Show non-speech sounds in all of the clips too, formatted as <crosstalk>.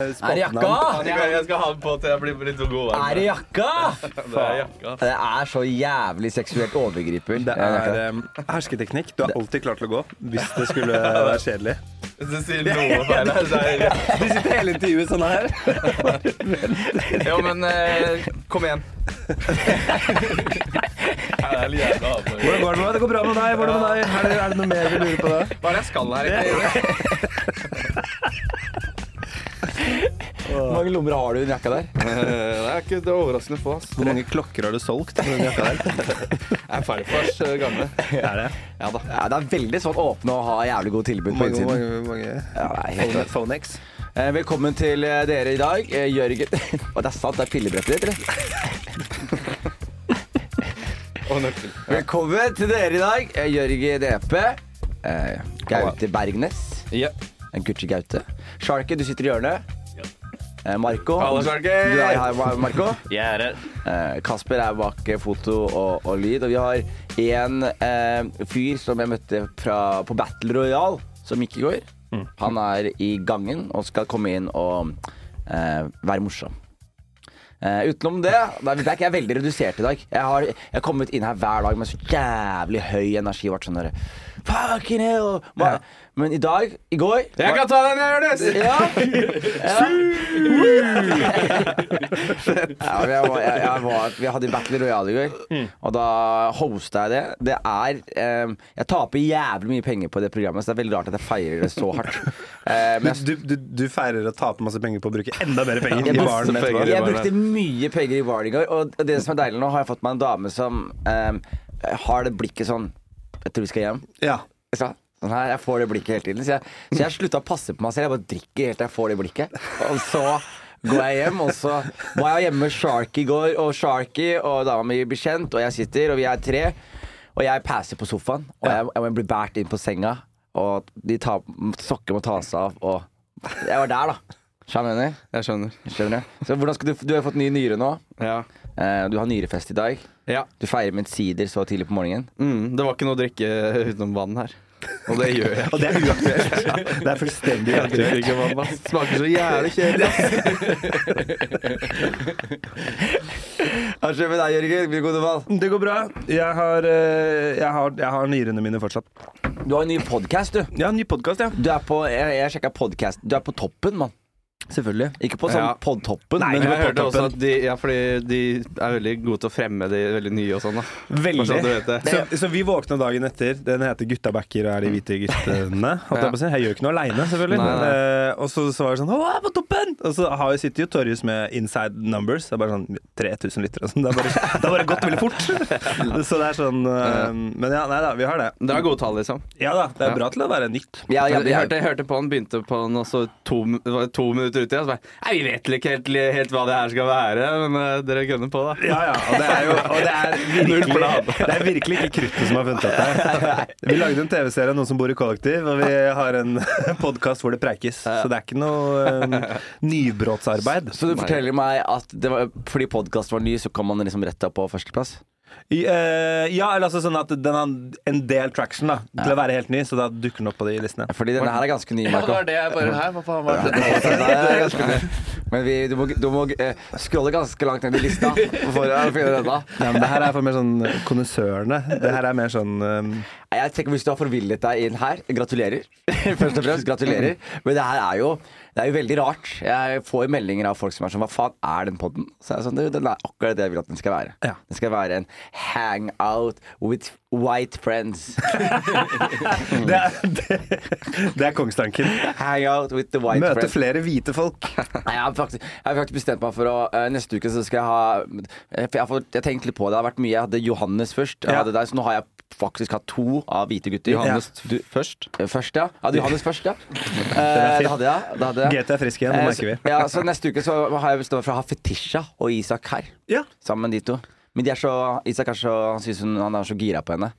Er det jakka? Jeg skal- Jeg skal ha den på til jeg blir litt så god. varm. Er det jakka? Det er jakka. Det er så jævlig seksuelt overgriper. Det er em, hersketeknikk. Du er alltid klar til å gå hvis det <laughs> skulle være kjedelig. Hvis du sier noe feil her, så er det Du sitter hele intervjuet sånn her. Jo, men eh, kom <laughs> igjen. Ja, det er litt jævla avhengig. Hvordan går det med deg? Det går bra med deg? Hvordan med deg? Er det, er det noe mer vi lurer på da? Hva er det jeg skal her? egentlig? Hvor mange lommer har du i den jakka der? Eh, Det er ikke det er overraskende få. ass. Hvor mange klokker har du solgt? på den jakka der? <laughs> Jeg er farfars eh, gamle. Er det? Ja da. Ja, det er veldig sånn åpne og ha jævlig godt tilbud på Mange, innsiden. mange, mange. Ja, det er helt klart. Phonex. Eh, Velkommen til eh, dere i dag, eh, Jørgen <laughs> Å, det er sant, det er pillebrettet ditt, eller? Og nøkkel. Velkommen til dere i dag, eh, Jørgen Epe. eh, Gaute Bergnes. Ja. En Gucci Gaute. Sharky, du sitter i hjørnet. Eh, Marco. Hallo, du- Sharky! Du er her, Mar- Marco. Jeg er her. Eh, Kasper er bak eh, foto og, og lyd. Og vi har en eh, fyr som jeg møtte fra, på Battle Royal, som gikk i går. Han er i gangen og skal komme inn og eh, være morsom. Eh, utenom det, da er vi back. Jeg er veldig redusert i dag. Jeg har, jeg har kommet inn her hver dag med så jævlig høy energi. Vært sånn der, Fucking hell! Ma- Men i dag, i går Jeg kan ta den, Jonis! ja. <laughs> ja. ja men jeg, var, jeg, jeg var, vi hadde Battle Royale i Hmm. går, og da hosta jeg det. Det er eh, Jeg taper jævlig mye penger på det programmet, så det er veldig rart at jeg feirer det så <laughs> hardt. Eh, men jeg, Du, du, du feirer å tape masse penger på å bruke enda mer penger i jeg, baren brukte, etterpå. jeg brukte mye penger i baren i går, og det som er deilig nå, har jeg fått meg en dame som eh, har det blikket sånn Jeg tror vi skal hjem. Ja. Ikke sant? Sånn her, jeg får det blikket hele tiden. Så jeg, så jeg slutta å passe på meg selv. Jeg bare drikker helt til jeg får det blikket. Og så går jeg hjem, og så var jeg hjemme med Sharky i går, og Sharky og dama mi blir kjent, og jeg sitter, og vi er tre. Og jeg passer på sofaen, og jeg, jeg blir båret inn på senga, og de tar, sokker må tas av, og Jeg var der, da. Skjønner du? hva jeg mener? Jeg skjønner. Skjønner du? Så hvordan skal du, du har fått ny nyre nå. Ja. Eh, Du har nyrefest i dag. ja. Du feirer med en sider så tidlig på morgenen. Mm, det var ikke noe å drikke utenom vann her. Og det gjør jeg. Og det er <laughs> uaktuelt. Det er fullstendig Jeg drikker uaktuelt. ikke vann, ass. Smaker så jævlig kjedelig. <laughs> ass. Hva skjer med deg, Jørgen? Vil du gå til valg? Det går bra. Jeg har, eh, jeg har, jeg har nyrene mine fortsatt. Du har en ny podkast, du. Ja, ny podkast, ja. Du er på, jeg, jeg sjekket podcast. Du er på toppen, mann. Selvfølgelig. Ikke på sånn Ja. podtoppen, Nei, men Men nei. jeg hørte også toppen. at de, ja, fordi de er veldig gode til å fremme de veldig nye og sånn. da Veldig. Bare sånn at du vet det. Så, så vi våkna dagen etter. Den heter 'Gutta backer' og er de hvite guttene. Holdt jeg, på å si. jeg gjør ikke noe aleine, selvfølgelig. Nei, nei. Eh, og så, så var det sånn 'Å, jeg er på toppen!' Og så har jeg sitter jo Torjus med inside numbers. Det er bare sånn 3000 lyttere og sånn. Det, er bare- det har bare gått veldig fort. så det er sånn eh, Men ja, nei da, vi har det. Det er gode tall, liksom. Ja da, det er bra til å være nytt. Ja, ja, jeg, ja. hørte, jeg hørte på han, begynte på han, og så to, min- det var to minutter uti. Og så bare Nei, vi vet vel ikke helt, helt hva det her skal være, men eh, dere gønner på, da. Ja, ja. Og det er jo <laughs> og det er virkelig, Null plan. det er virkelig ikke kruttet som har funnet opp det. her. Vi lagde en TV-serie om noen som bor i kollektiv, og vi har en <laughs> podkast hvor det preikes. Så det er ikke noe um, nybrottsarbeid. Så du forteller meg at det var, fordi podkasten var ny, så kom man liksom rett opp på førsteplass? I, eh, ja, eller altså sånn at den har en del traction da, til å være helt ny, så da dukker den opp på de listene. Fordi denne her er ganske ny, Ja, det Marco. var det jeg bare Her, hva <laughs> faen var det? Så den her er ganske ny. Men vi, du må, du må eh, scrolle ganske langt ned i lista for å finne denne. Nei, men det her er for mer sånn kondisørene. Det her er mer sånn um, Nei, Jeg tenker Hvis du har forvillet deg inn her, gratulerer. <laughs> Først og fremst, gratulerer. Men det her er jo, det er jo veldig rart. Jeg får jo meldinger av folk som er sånn Hva faen er den podden? Så er jeg sånn, «Du, Den er akkurat det jeg vil at den skal være. Ja. Den skal være en hangout with white friends. <laughs> <laughs> det, er, det, det er kongstanken. Hangout with the white Møte friends. flere hvite folk. Nei, jeg har faktisk, jeg har faktisk bestemt meg for å eh, Neste uke så skal jeg ha eh, For jeg har fått- jeg har tenkt litt på det. Det har vært mye. Jeg hadde Johannes først. Jeg Ja. hadde deg, så nå har jeg faktisk hatt to av hvite gutter. Johannes du, først. Eh, Først, ja. Jeg hadde Johannes <laughs> først, ja. Eh, det hadde jeg. Det hadde jeg. GT er frisk igjen, det Eh, merker vi. så- Ja, så Neste uke så har jeg bestemt meg for å ha Fetisha og Isak her. Ja. Sammen de to. Men de er så, Isak er så, han synes hun, han er så gira på henne.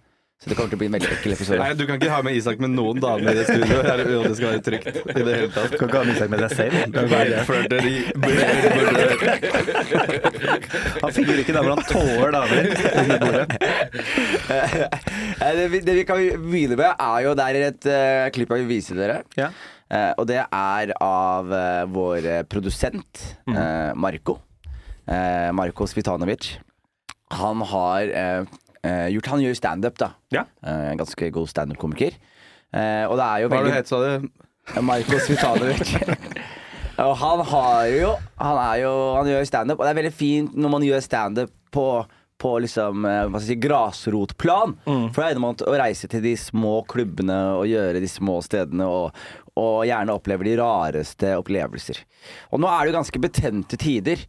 Så det kommer til å bli en veldig ekkel <laughs> episode. Nei, du kan ikke ha med Isak med noen damer i det <laughs> studioet. her, og Det skal være trygt i det hele tatt. Kan ikke ha med seg med deg <laughs> selv. Flørteri. <laughs> blø- blø- Han finner ikke damer, han tåler damer. <laughs> under bordet. Eh, Det vi, det vi kan begynne med, er jo Det er et eh, klipp jeg vil vise dere. Ja. Eh, og det er av eh, vår eh, produsent, eh, Marco. Eh, Marco Svitanovic. Han har eh, eh, gjort Han gjør standup, da. Ja. Eh, en ganske god standup-komiker. Eh, og det er jo Hva er det veldig du het, sa du? <laughs> Marko Svitanovic. og han har jo Han, er jo, han gjør standup, og det er veldig fint når man gjør standup på på liksom, eh, hva skal jeg si, grasrotplan. For da er det man å reise til de små klubbene og gjøre de små stedene og, og gjerne oppleve de rareste opplevelser. Og nå er det jo ganske betente tider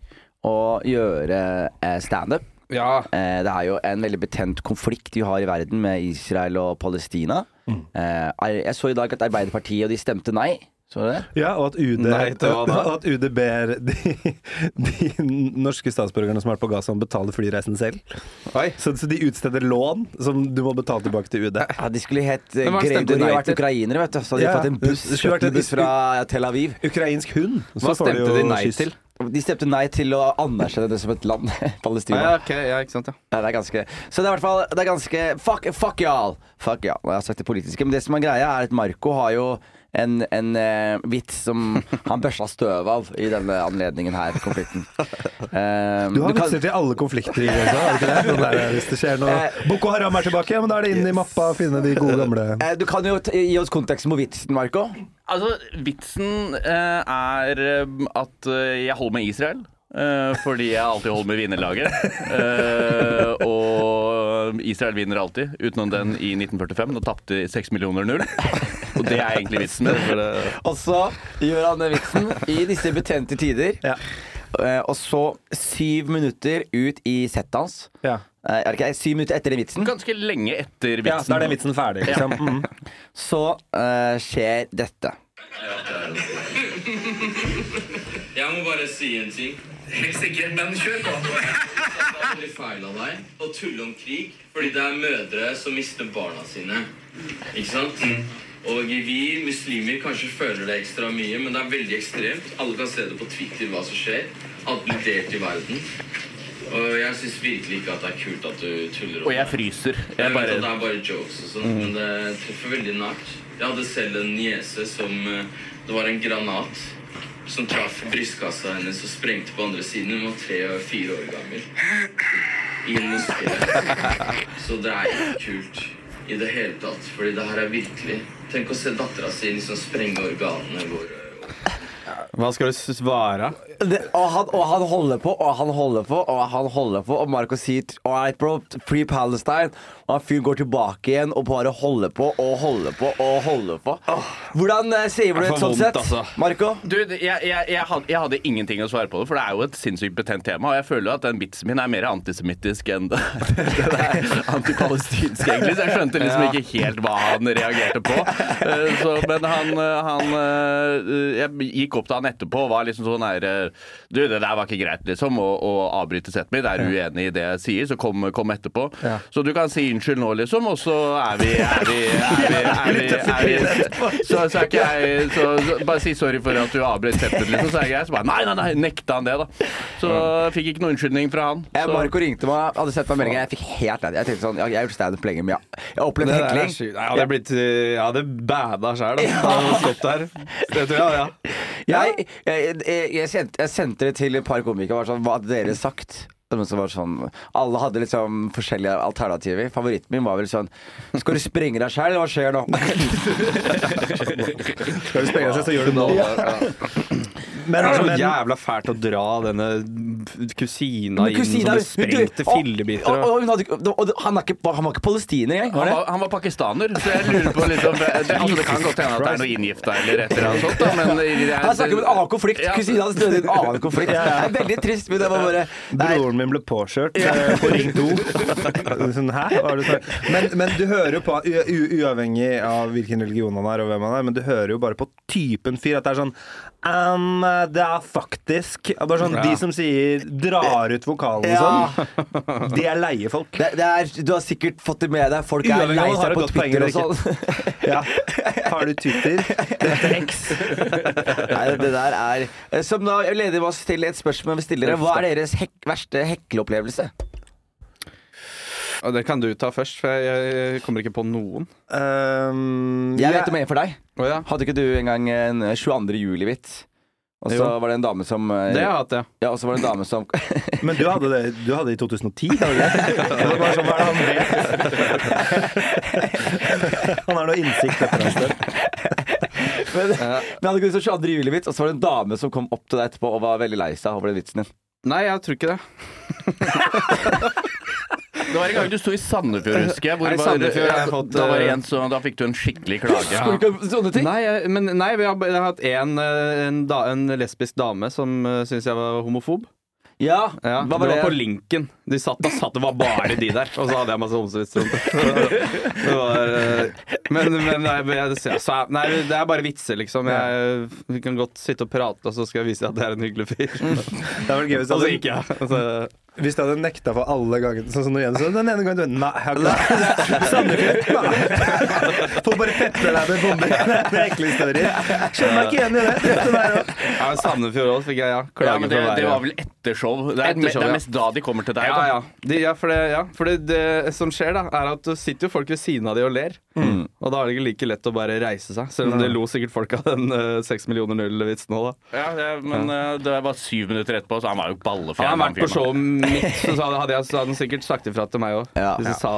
å gjøre eh, standup. Ja. Eh, Det er jo en veldig betent konflikt vi har i verden med Israel og Palestina. Eh, Ar- Jeg så i dag at Arbeiderpartiet og de stemte nei. Så du det? Ja, og at UD, Nei, til hva da? og <laughs> at UD ber de, de norske statsborgerne som har vært på Gaza, om å betale flyreisen selv. Oi. Så, så de utsteder lån som du må betale tilbake til UD. Ja, de skulle hett eh, Men hva Gregori stemte og nei vært til? ukrainere, vet du. Så hadde de Ja, fått en buss, det skulle vært en- kjøpt en buss fra Tel Aviv. Ukrainsk hund. så Hva får du stemte jo de nei skyss. til? De stemte nei til å anerkjenne det som et land, <laughs> Palestina. Ja, ok, ja, ikke sant, ja. Ja, det er ganske Så det er i hvert fall Det er ganske Fuck, fuck y'all! Fuck y'all. Jeg har sagt det politiske, men det som er greia, er at Marco har jo en, en eh, vits som <laughs> han børsta støv av i denne anledningen her, <laughs> konflikten. Eh, Du har kan- vitser til alle konflikter i USA, har du ikke det? Sånn der, hvis det skjer noe Eh, Boko Haram er tilbake, ja, men da er det inn i mappa å finne de gode gamle Eh, Du kan jo t gi oss konteksten på vitsen, Marco. Altså, vitsen eh, er eh, at eh, jeg holder med Israel. eh, fordi jeg alltid holder med vinnerlaget. Eh, og Israel vinner alltid, utenom den i 1945. Da tapte de 6 millioner null. Og det er egentlig vitsen. <laughs> Og så gjør han den vitsen i disse betente tider. Ja. Eh, og så syv minutter ut i settet hans Ja, eh, Er det ikke syv minutter etter den vitsen? Ganske lenge ja etter da vitsen. er den vitsen ferdig, liksom. Mm. Så eh, skjer dette. <laughs> Jeg må bare si en ting. Helt sikkert, men kjør <laughs> på. Det er veldig feil av deg å tulle om krig, fordi det er mødre som mister barna sine. Ikke sant? Og vi muslimer kanskje føler det ekstra mye, men det er veldig ekstremt. Alle kan se det på Twitter hva som skjer. Alt blir delt i verden. Og jeg syns virkelig ikke at det er kult at du tuller om og jeg fryser. jeg Jeg vet at det bare er bare jokes og sånn, men det treffer veldig nært. Jeg hadde selv en niese som eh, Det var en granat som traff brystkassa hennes og sprengte på andre siden. Hun var tre og fire år gammel. I en moské. Så det er ikke kult i det hele tatt, fordi det her er virkelig Tenk å se dattera si liksom sprenge organene våre. Hva skal du svare? Det, og, han, og han holder på, og han holder på, og han holder på. Og Marco sier All right, bro, free Palestine. Og han fyren går tilbake igjen og bare holder på og holder på og holder på. Hvordan eh, sier du Jeg et får sånt vondt, sett? altså. Marco? du, jeg, jeg, jeg, hadde, jeg hadde ingenting å svare på det, for det er jo et sinnssykt betent tema. Og jeg føler jo at den vitsen min er mer antisemittisk enn det, <laughs> det er antipalestinsk, egentlig. Så jeg skjønte liksom ikke helt hva han reagerte på. Eh, Så, men han, eh, han eh, Jeg gikk opp til han etterpå og var liksom sånn her eh, Du, det der var ikke greit, liksom, å, å avbryte settet mitt. Er du uenig i det jeg sier, så kom, kom etterpå. Så du kan si unnskyld nå, liksom, og så er vi, er <laughs> vi, er vi, er vi, er vi, så, så er ikke jeg så, så, Bare si sorry for at du avbrøt septet, liksom. Så er jeg grei. Så bare nei, nei, nei, nekta han det, da. Så fikk ikke noen unnskyldning fra han. Eh, Så. Marco ringte meg, hadde sett meg meldingen. Jeg fikk helt lei Jeg tenkte sånn, jeg, jeg har gjort standup lenge, men jeg, jeg har opplevd Det der er hekling. sjukt. Nei, Jeg hadde blitt eh, Jeg hadde bada sjæl, da. Jeg hadde stått der. Det tror jeg, ja. Jeg, jeg, jeg, jeg, sendte, jeg sendte det til et par komikere. Var sånn, Hva hadde dere sagt? Det var Sånn, sånn, alle hadde liksom forskjellige alternativer. Favoritten min var vel sånn Skal du sprenge deg sjæl, eller hva skjer nå? <laughs> Skal du sprenge seg, så gjør du nå. Men, Det er så men jævla fælt å dra denne kusina Men inn som kusina- ble sprengt til du, og- fillebiter. Og, da. og, hun hadde, ikke- og han, er ikke, han var ikke palestiner engang. var Han det? var, han var pakistaner, så jeg lurer på liksom Det, altså, det kan godt hende at det er noe inngifta eller et eller annet sånt, da, men i- det er- Han snakker om en annen konflikt. Ja. Kusina hadde stødd i en annen konflikt. Det er veldig trist, men det var bare Nei, Broren min ble påkjørt eh, på Ring 2. <laughs> Sånn, Hæ? Hva er det du snakker om? men, men du hører jo på, u u uavhengig av hvilken religion han er og hvem han er, men du hører jo bare på typen fyr at det er sånn «Ehm, Det er faktisk og bare sånn, De som sier de drar ut vokalene og Ja. <laughs> sånn. De er leie folk. Det, det er, du har sikkert fått det med deg. Folk er Uavhengig av lei om du har seg et på godt poeng Twitter og eller sånn. Ja. Har du Twitter? Dette er X. Nei, det der er eh, Som da leder oss til et spørsmål vi stiller. Hva er deres hek verste hekleopplevelse? Og det kan du ta først, for jeg, jeg kommer ikke på noen. Um, Jeg vet om en for deg. Å ja. Hadde ikke du engang en 22. juli-vits? Og så Jo. var det en dame som eh, Det har jeg hatt, ja. Ja, og så var det en dame som <laughs> Nei, Men du hadde det du hadde det i 2010? Hadde du det? Det var bare sånn, hva er det han vet? <laughs> Han har noe innsikt etter et sted. hadde ikke du så 22. juli-vits, og så var det en dame som kom opp til deg etterpå og var veldig lei seg over den vitsen din. Nei, jeg tror ikke det. Det var en gang du sto i Sandefjord, husker jeg. Hvor Nei, var- Sandefjord har jeg da- fått, da, var det eh, en, som- da fikk du en skikkelig klage. Husker du ikke sånne ting? Nei, jeg, men, nei, jeg har, jeg har hatt en, eh, en, da, en lesbisk dame som uh, syntes jeg var homofob. Ja, Ja, hva var det det? var på Linken. De satt, da satt, det var bare de der. Og så hadde jeg masse homsevitser om <laughs> det. det var, eh, men men nei, men jeg, så, så, nei, det er bare vitser, liksom. Jeg, vi kan godt sitte og prate, og så skal jeg vise deg at jeg er en hyggelig fyr. Mm. Det var gøy hvis du hadde, Altså, Og så altså, gikk jeg. Og så, hvis du hadde nekta for alle gangene. Sånn som når Jens sa, den ene gangen du Nei, jeg har ikke det. Sandefjord. Nei. Får bare pepre deg med bomber. Det er en ekle historier. Kjenner meg ikke igjen i det. Dette der også. ja, men Sandefjord òg fikk jeg ja, Ja, klage men det, for det var været. vel etter show. Det er, Etter show, ja. det er mest da de kommer til deg. Ja, da. ja. De, ja, for, det, ja. for det, det som skjer, da, er at det sitter jo folk ved siden av de og ler. Mm. Og da er det ikke like lett å bare reise seg. Selv om det lo sikkert folk av den eh, seks millioner null-vitsen òg, da. Ja, det, men eh, det var syv minutter etterpå, så han var jo ballefjern. Hadde han han vært på fyren. showet mitt, så sa- hadde, jeg, så hadde han sikkert sagt ifra til meg òg. Ja. Hvis jeg sa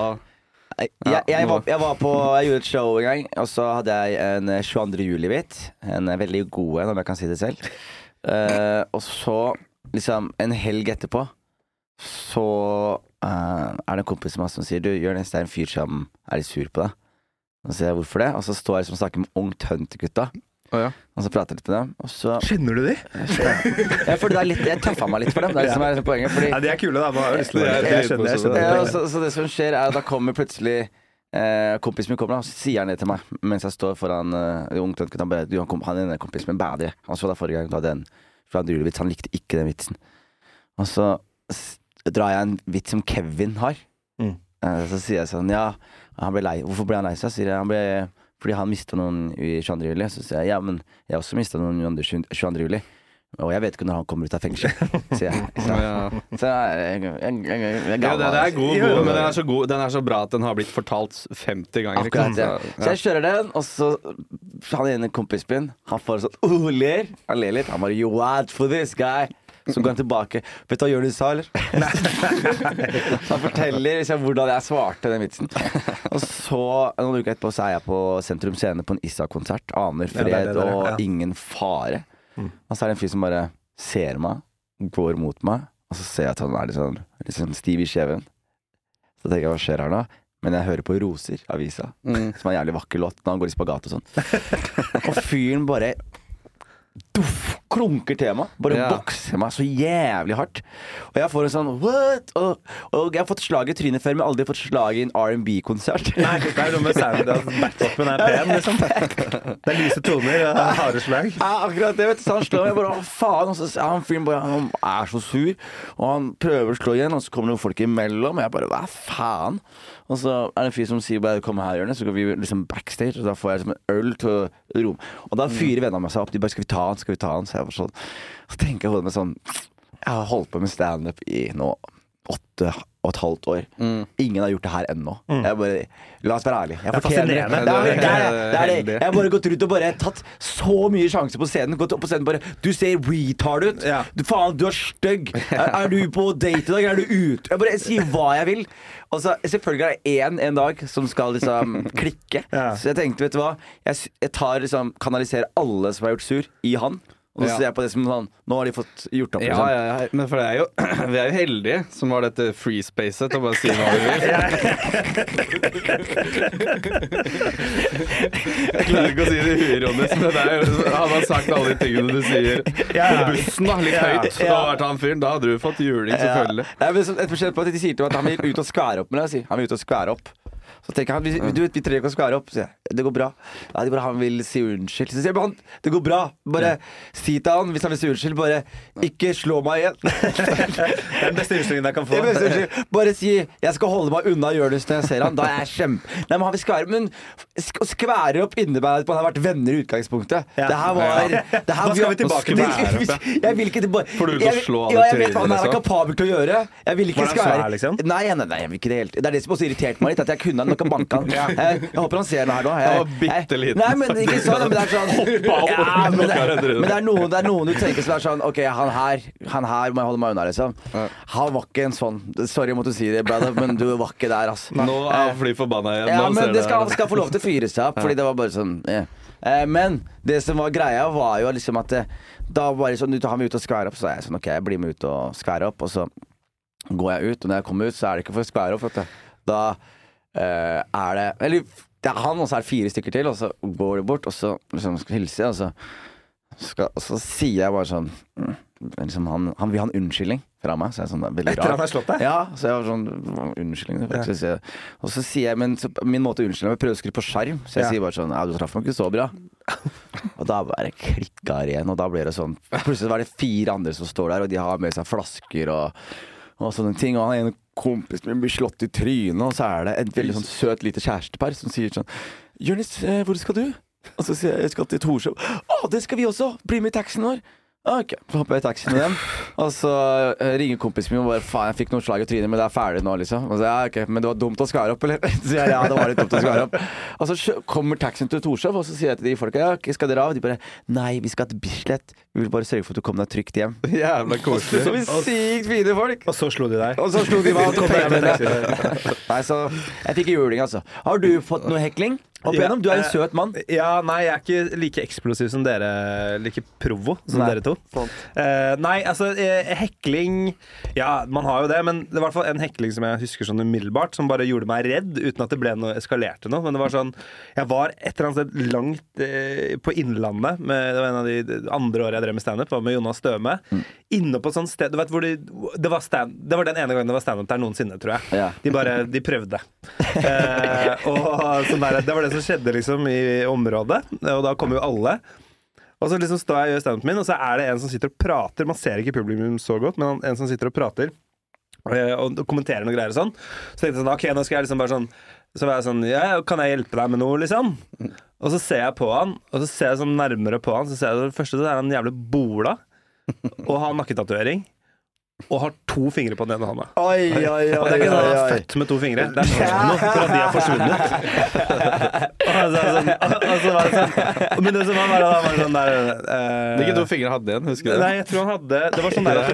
Jeg, Ja, jeg, jeg, nå- var, jeg var på Jeg gjorde et show en gang, og så hadde jeg en eh, 22. juli-hvit. En eh, veldig god en, om jeg kan si det selv. Eh, og så, liksom, en helg etterpå, så eh, er det en kompis av meg som sier Du, Jonis, det er en fyr som er litt sur på deg. Og så sier jeg hvorfor det, og så står jeg liksom og snakker med Ungt Hunt-gutta. Å ja. Og så prater jeg litt med dem. Og så Kjenner du de? Jeg, føler det er litt, jeg tøffa meg litt for <laughs> dem. Det er det som er liksom poenget. Fordi Nei, de er kule, da. Man har lyst til det. Det er Jeg skjønner. Jeg Ja, og skjønner. så, så det som skjer er at da kommer plutselig eh, kompisen min kommer, og så sier han det til meg mens jeg står foran eh, ungt og han bare, du, han, kom, han er denne kompisen min bedre. Han så deg forrige gang, du hadde en fra en julevits, han likte ikke den vitsen. Og så s- drar jeg en vits som Kevin har. Mm. Eh, så sier jeg sånn, ja, han ble lei. Hvorfor ble han lei seg? Sier jeg, han ble, fordi han mistet noen i 22. juli. Så sier jeg, ja, men jeg har også mistet noen i 22. juli. Og jeg vet ikke når han kommer ut av fengsel, sier jeg. Så, ja. så jeg, jeg, jeg, jeg, jeg, jeg, jeg, Jo, det, det altså. er god, Jo, god, jo. men den er, så god, den er så bra at den har blitt fortalt 50 ganger. ikke Akkurat, sant? ja. Så Så- jeg kjører den, og så han ene kompisen min Han får sånn oh, ler. Han ler litt. Han bare You out for this guy. Så går han tilbake. Vet du hva Jonis sa, <laughs> eller? Så han forteller liksom, hvordan jeg svarte den vitsen. Og så, noen uker etterpå, så er jeg på Sentrum Scene på en Issa-konsert. Ja, Aner det er fred det der, og ja. Mm. ingen fare. Og så er det en fyr som bare ser meg, går mot meg, og så ser jeg at han er litt sånn, litt sånn stiv i kjeven. Så tenker jeg hva skjer her nå? Men jeg hører på Roser, avisa, som er en jævlig vakker låt når han går i spagat og sånn. og fyren bare duff, klunker til meg. Bare Ja. bokser meg så jævlig hardt. Og jeg får en sånn what? Og, og jeg har fått slag i trynet før, men aldri fått slag i en R&B-konsert. Nei, det er noe med sound at backupen er pen, liksom. Det er lyse toner og harde slag. Ja, akkurat det, vet du. Så han slår meg bare, å faen. Og så er han fyren bare, han er så sur. Og han prøver å slå igjen, og så kommer det noen folk imellom. Og jeg bare, hva faen? Og så er det en fyr som sier bare, kom her, Jørnes. Så går vi liksom backstage, og da får jeg liksom en øl til å rom. Og da fyrer vennene meg seg opp. De bare, skal vi ta han, skal vi ta han? Så jeg bare sånn. Så tenker jeg i hodet mitt sånn, jeg har holdt på med standup i nå åtte og et halvt år. Ingen har gjort det her ennå. Jeg bare, la oss være ærlige. Jeg fortjener Mm. det. fascinerende. Det er, det, er, det, er, Heldig. det. Jeg har bare gått rundt og bare tatt så mye sjanser på scenen. Gått opp på scenen bare Du ser retard ut. Ja. Du, faen, du er stygg. Er, er du på date i dag? Er du ute? Jeg bare sier hva jeg vil. Og så Selvfølgelig er det én en dag som skal liksom klikke. Ja. Så jeg tenkte, vet du hva Jeg, s- jeg tar liksom kanaliserer alle som har gjort sur, i han. Og så Ja. ser jeg på det som sånn Nå har de fått gjort opp. Ja, liksom. ja, ja. Men for det er jo, vi er jo <clears throat> heldige som har dette free spacet til å bare si hva vi vil. Jeg klarer ikke å si det uironisk, men det er jo, hadde han sagt alle de tingene du sier på Ja. bussen, da, litt høyt, og Ja. vært han fyren, da hadde du fått juling, selvfølgelig. Ja. Nei, men så- Et forskjell på at De sier til meg at han vil ut og skvære opp med deg. sier. Han vil ut og skvære opp. Så tenker han, vi, du vet, vi trenger ikke å skvære opp, sier jeg. Det går bra. Ja, det går bra. Han vil si unnskyld. Så sier jeg, «Men han, det går bra. Bare si til han, hvis han vil si unnskyld, bare ikke slå meg igjen. <laughs> Det er den beste unnskyldningen jeg kan få. Jeg mener, unnskyld. Bare si 'jeg skal holde meg unna Jonis' når jeg ser han'. Da er jeg kjempe... Nei, men han vil skvære Men sk å skvære opp innebærer at man har vært venner i utgangspunktet. Ja. Det her var det her, Hva skal vi tilbake til? til? Jeg vil ikke tilbake Får du lyst til å slå han i Ja, jeg vet hva han trynet, er liksom? kapabel til å gjøre. Jeg vil ikke Var han skvære svær, liksom? Nei, nei, nei, jeg vil ikke det helt Det er det som også irriterte meg litt, at jeg kunne han nok ha banka <laughs> han. Eh, Jeg, jeg håper han ser den her nå. Jeg, Han var bitteliten. jeg- Nei, men ikke sånn. Men det er <laughs> sånn opp og Ja, men det, knokka rett i trynet. men det er noen, det er noen du tenker som er sånn Ok, han her, han her må jeg holde meg unna, liksom. Han var ikke en sånn. Sorry, jeg måtte si det, brother, men du var ikke der, ass. Nå er han fly forbanna igjen. Ja, Nå ser men det jeg skal, det. skal få lov til å fyre seg opp, fordi det var bare sånn eh. Eh, Men det som var greia, var jo liksom at eh, da bare sånn, du tar meg ut og skværer opp, så er jeg sånn OK, jeg blir med ut og skværer opp, og så går jeg ut, og når jeg kommer ut, så er det ikke for å skvære opp, vet du. Da eh, er det Eller det er han, og så er det fire stykker til, og så går det bort, og så liksom skal hilse, og så skal, og så sier jeg bare sånn mm, liksom han, han vil ha en unnskyldning fra meg. Så jeg er sånn, det er veldig Etter rart. han har slått deg? Ja, så jeg var sånn Unnskyldning. det er faktisk- jeg- Og så sier jeg Men så, min måte å unnskylde meg på, er å prøve å skru på skjerm. Så jeg Ja. sier bare sånn Ja, du traff meg ikke så bra. Og da bare klikka det igjen, og da ble det sånn Plutselig var det fire andre som står der, og de har med seg flasker og, og sånne ting. Og han ene kompisen min blir slått i trynet, og så er det et veldig sånn søt lite kjærestepar som sier sånn Jonis, eh, hvor skal du? Og så sier jeg jeg skal til Torshov. Å, det skal vi også! Bli med i taxien vår! Ah, Ok, så hopper jeg i taxien med dem. Og så eh, ringer kompisen min og bare faen, jeg fikk noen slag i trynet, men det er ferdig nå, liksom. Og så ja, ok, men det var dumt å skvære opp, eller? <laughs> Så sier jeg ja, det var litt dumt å skvære opp. Og så kjø- kommer taxien til Torshov, og så sier jeg til de folka ja, ok, skal dere av? De bare nei, vi skal til Bislett. Vi vil bare sørge for at du kom deg trygt hjem. Jævla koselig. Så vi sykt fine folk! Og så slo de deg. Og så slo de meg <laughs> og kom hjem med det. Nei, så jeg fikk juling, altså. Har du fått noe hekling? Opp Ja, igjennom? Du er eh, en søt mann. Ja, nei, jeg er ikke like eksplosiv som dere. Like provo som Nei, dere to. sant. Eh, nei, altså, eh, hekling Ja, man har jo det, men det var i hvert fall en hekling som jeg husker sånn umiddelbart, som bare gjorde meg redd, uten at det ble noe eskalerte noe. Men det var sånn Jeg var et eller annet sted langt eh, på Innlandet. Med, det var en av de de andre åra jeg drev med standup, var med Jonas Støme. Inne på et sånt sted Du vet hvor de Det var, stand, det var den ene gangen det var standup der noensinne, tror jeg. Ja. De bare De prøvde. Eh, og sånn der, det var det som skjedde liksom i området, og da kom jo alle. Og så liksom står jeg og gjør standupen min, og så er det en som sitter og prater. Man ser ikke publikum så godt, men han- en som sitter og prater eh, og kommenterer noen greier og sånn. Så tenkte jeg sånn, ok, nå skal jeg liksom bare sånn Så var jeg sånn, ja, kan jeg hjelpe deg med noe, liksom? Og så ser jeg på han, og så ser jeg sånn nærmere på han, så ser jeg for det første så er han jævlig bola og har nakketatovering. Og har to fingre på den ene hånda. Oi, oi, oi. Og det er ikke sånn at han er oi, oi. født med to fingre. Det er skjedd noe for at de er <laughs> forsvunnet. Og så er det sånn, og så var det sånn Men det som var, var, var sånn der eh, Hvilke to fingre hadde igjen? Husker du Nei, det? jeg tror han hadde Det var sånn der at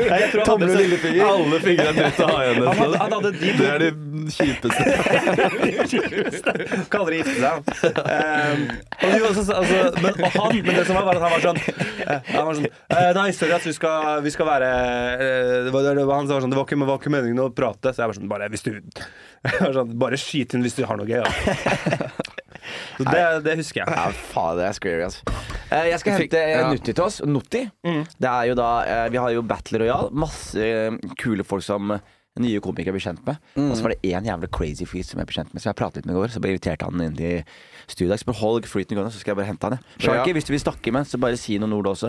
Nei, jeg tror han hadde Tommel og sånn- lillefinger. Alle fingre er nødt til å ha igjen. Han hadde, nesten. han hadde de Det er de kjipeste. Kan aldri gifte seg. Um, og jo, altså, altså, men, og han, men det som var, var at han var sånn eh, Han var sånn eh, Nei, sorry at vi skal, vi skal være eh, det var, det var, Han var sånn Det var ikke, det var ikke meningen å prate. Så jeg var sånn Bare, hvis du, jeg var sånn, bare skyt inn hvis du har noe gøy. Da. Så det, det husker jeg. Ja, faen, det er scary, altså. Eh, Jeg Mm. skal Fikk- hente eh, ja. Nutti til oss. Nutti. Det er jo da eh, Vi har jo Battle Royale. Masse eh, kule folk som eh, nye komikere blir kjent med. Og så var det én jævlig crazy fyr som jeg ble kjent med, som jeg pratet litt med i går. Så bare inviterte han inn til studio. Jeg skal bare holde flyten gående, så skal jeg bare hente han. jeg. Ja. Sharky, hvis du vil snakke med, så bare si noen ord også.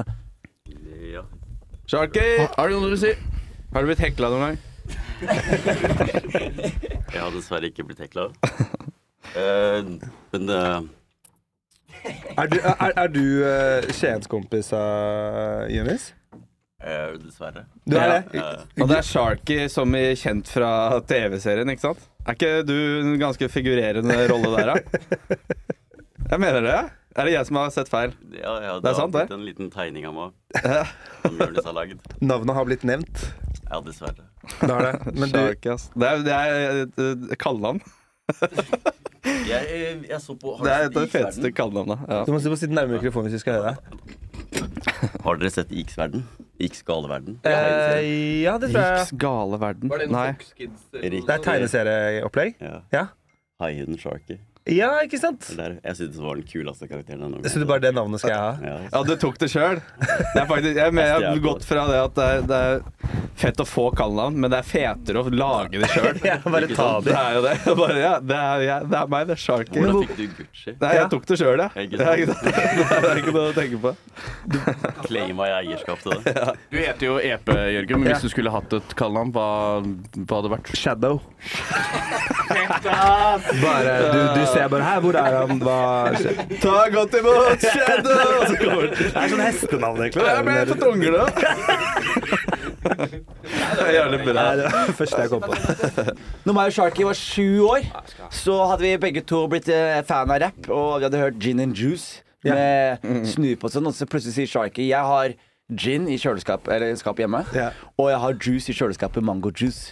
Sharky, Har du noe du vil si? har du blitt hekla noen gang? Jeg har dessverre ikke blitt hekla. Eh, men eh, Er du, er, er du eh, Skiens kompis av Jonis? eh, dessverre. Du er det? Eh, Og det er Sharky som er kjent fra TV-serien, ikke sant? Er ikke du en ganske figurerende rolle der, da? Jeg mener det. Er det jeg som har sett feil? ja, ja, Det er sant, Det det. har blitt en liten tegning av <laughs> meg som Jonis har laget. Navnet har blitt nevnt. Ja, dessverre. Det er <laughs> det. Men du, Sharky, ass. Det er, det er et kallenavn. Jeg, eh, jeg så på har Det er dere et av de sett feteste Iksverden? kallenavna. Ja. du må sitte nærmere mikrofonen hvis vi skal høre deg. Har dere sett Iksverden? Iks galeverden? Eh, ja, det tror jeg. Riks gale verden. Nei. Det er tegneserieopplegg? Ja. Ja. Haien Sharky. Ja, ikke sant? Det Der. Jeg syntes det var den kuleste karakteren. denne Så gangen. du bare det navnet skal jeg ha? ja, altså. Ja, du tok det sjøl. Jeg, mener- jeg har gått fra det at det er, det er fett å få kallenavn, men det er fetere å lage det sjøl. Ja, bare Ikke ta sant? Det det. er jo det. Bare, ja, det, er, jeg, det er meg, det er Sharky. Hvordan fikk du Gucci? Nei, jeg tok det sjøl, jeg. Ikke Det er <laughs> ikke det er ikke noe å tenke på. Claima jeg eierskap <laughs> til det? Du heter jo EP, Jørgen, men hvis du skulle hatt et kallenavn, hva, hva hadde det vært? Shadow. Bare, du, du ser bare her, hvor er han, hva skjer? Ta godt <laughs> imot Shadow! Det er sånn hestenavn, egentlig. Jeg ble for <laughs> tungle. Det er jævlig bra. Nei, det var det første jeg kom på. Når meg og Sharky var sju år, så hadde vi begge to blitt eh, fan av rapp. Og vi hadde hørt Gin and Juice Ja. med Mm. Snoop og sånn. Og så plutselig sier Sharky Jeg har gin i kjøleskap, eller skap hjemme, Ja. og jeg har juice i kjøleskapet. Mango <laughs> juice.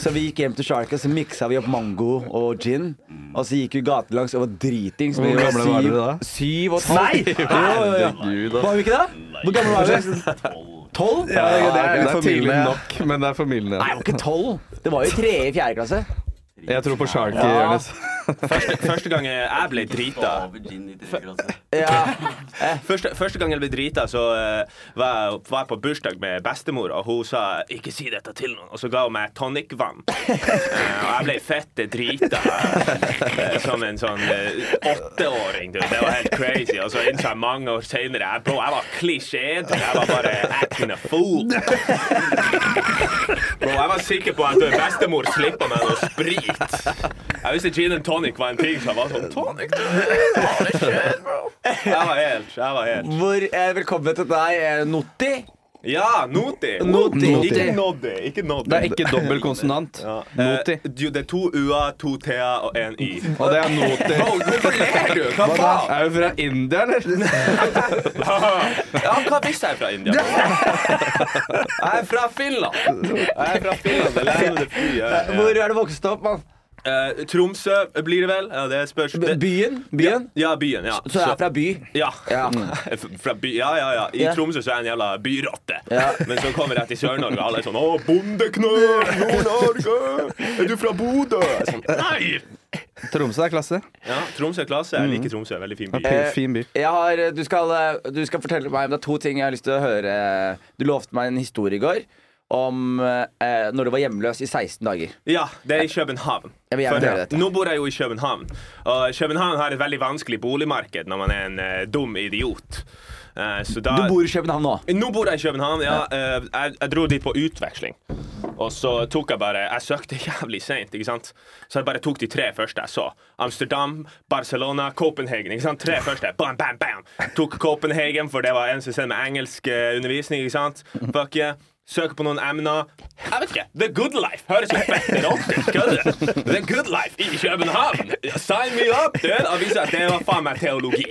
så vi gikk hjem til Sharky, og så miksa vi opp mango og gin. Og så gikk vi gatelangs og var dritings. Hvor Vi gamle var syv- dere da? Syv og et <laughs> halvt. Jo, jo, jo. Var vi ikke det? Hvor gamle var vi? Tolv? Ja, Ja, det er det er tidlig familie. nok, men det er familien. Nei, det Ja. var ikke tolv. Det var jo i tredje, i fjerde klasse. Jeg tror på Sharky. Ja. Jonis. Første, første gang jeg ble drita Over gin i tredje klasse. Ja. Første, første gang jeg ble drita, så eh, var, jeg, var jeg på bursdag med bestemor, og hun sa 'ikke si dette til noen', og så ga hun meg tonicvann. Eh, og jeg ble fette drita eh, som en sånn eh, åtteåring. du. Det var helt crazy. Og så innså jeg mange år seinere jeg, bro, jeg var klisjédrita. Jeg var bare acting a fool. Bro, jeg var sikker på at bestemor slippa meg noe sprit. Jeg visste gin and tonic var en ting, så jeg var sånn Tonic, du! Holy shit, bro. Jeg var helt, jeg var helt. Hvor, eh, velkommen til deg, eh, Notti. Ja, Noti. Noti. Ikke Noddi. Ikke Noddi. Det er ikke dobbel <laughs> konsonant. Noti. Eh, jo, det er to U-er, to T-er og en Y. Og det er noti. Bro, hvorfor ler du? Hva faen? Er du fra <laughs> India, eller? <laughs> Ja, hva hvis jeg er fra India? Jeg er fra Finland. Jeg er fra Finland, det landet det frie. Hvor er du vokst opp, mann? Eh, Tromsø blir det vel? Ja, det spørs. B- Byen? Byen? Ja, byen, ja. Så jeg er fra by. Ja. Ja. <laughs> Fra by, ja, ja, ja. I Ja. Tromsø så er jeg en jævla byrotte. Ja. <laughs> Men så kommer jeg til Sør-Norge, og alle er sånn 'Å, bondeknøl! Nord-Norge! Er du fra Bodø?' Jeg er Sånn, Nei! Tromsø er klasse. Ja, Tromsø er klasse. Jeg Mm. liker Tromsø. Veldig fin by. Eh, P- Fin by. Jeg har, eh, du, skal, eh, du skal fortelle meg om det er to ting jeg har lyst til å høre. Du lovte meg en historie i går om eh, når du var hjemløs i 16 dager. Ja, det er i København. Jeg vil gjerne For, høre dette. Nå bor jeg jo i København, og København har et veldig vanskelig boligmarked når man er en eh, dum idiot. Eh, så da, Du bor i København nå. Nå bor jeg i København. ja. Eh, jeg, jeg dro dit på utveksling. Og så tok jeg bare Jeg søkte jævlig seint, ikke sant. Så jeg bare tok de tre første jeg så. Amsterdam, Barcelona, Copenhagen. ikke sant? Tre første. Bam, bam, bam. Tok Copenhagen, for det var en som sendte meg engelsk eh, undervisning, ikke sant. Fuck yeah. Søker på noen emner. Jeg vet ikke. The Good Life høres jo bedre opp til kødder. The Good Life i København. Sign me up, dude! Og viser at det var faen meg teologi.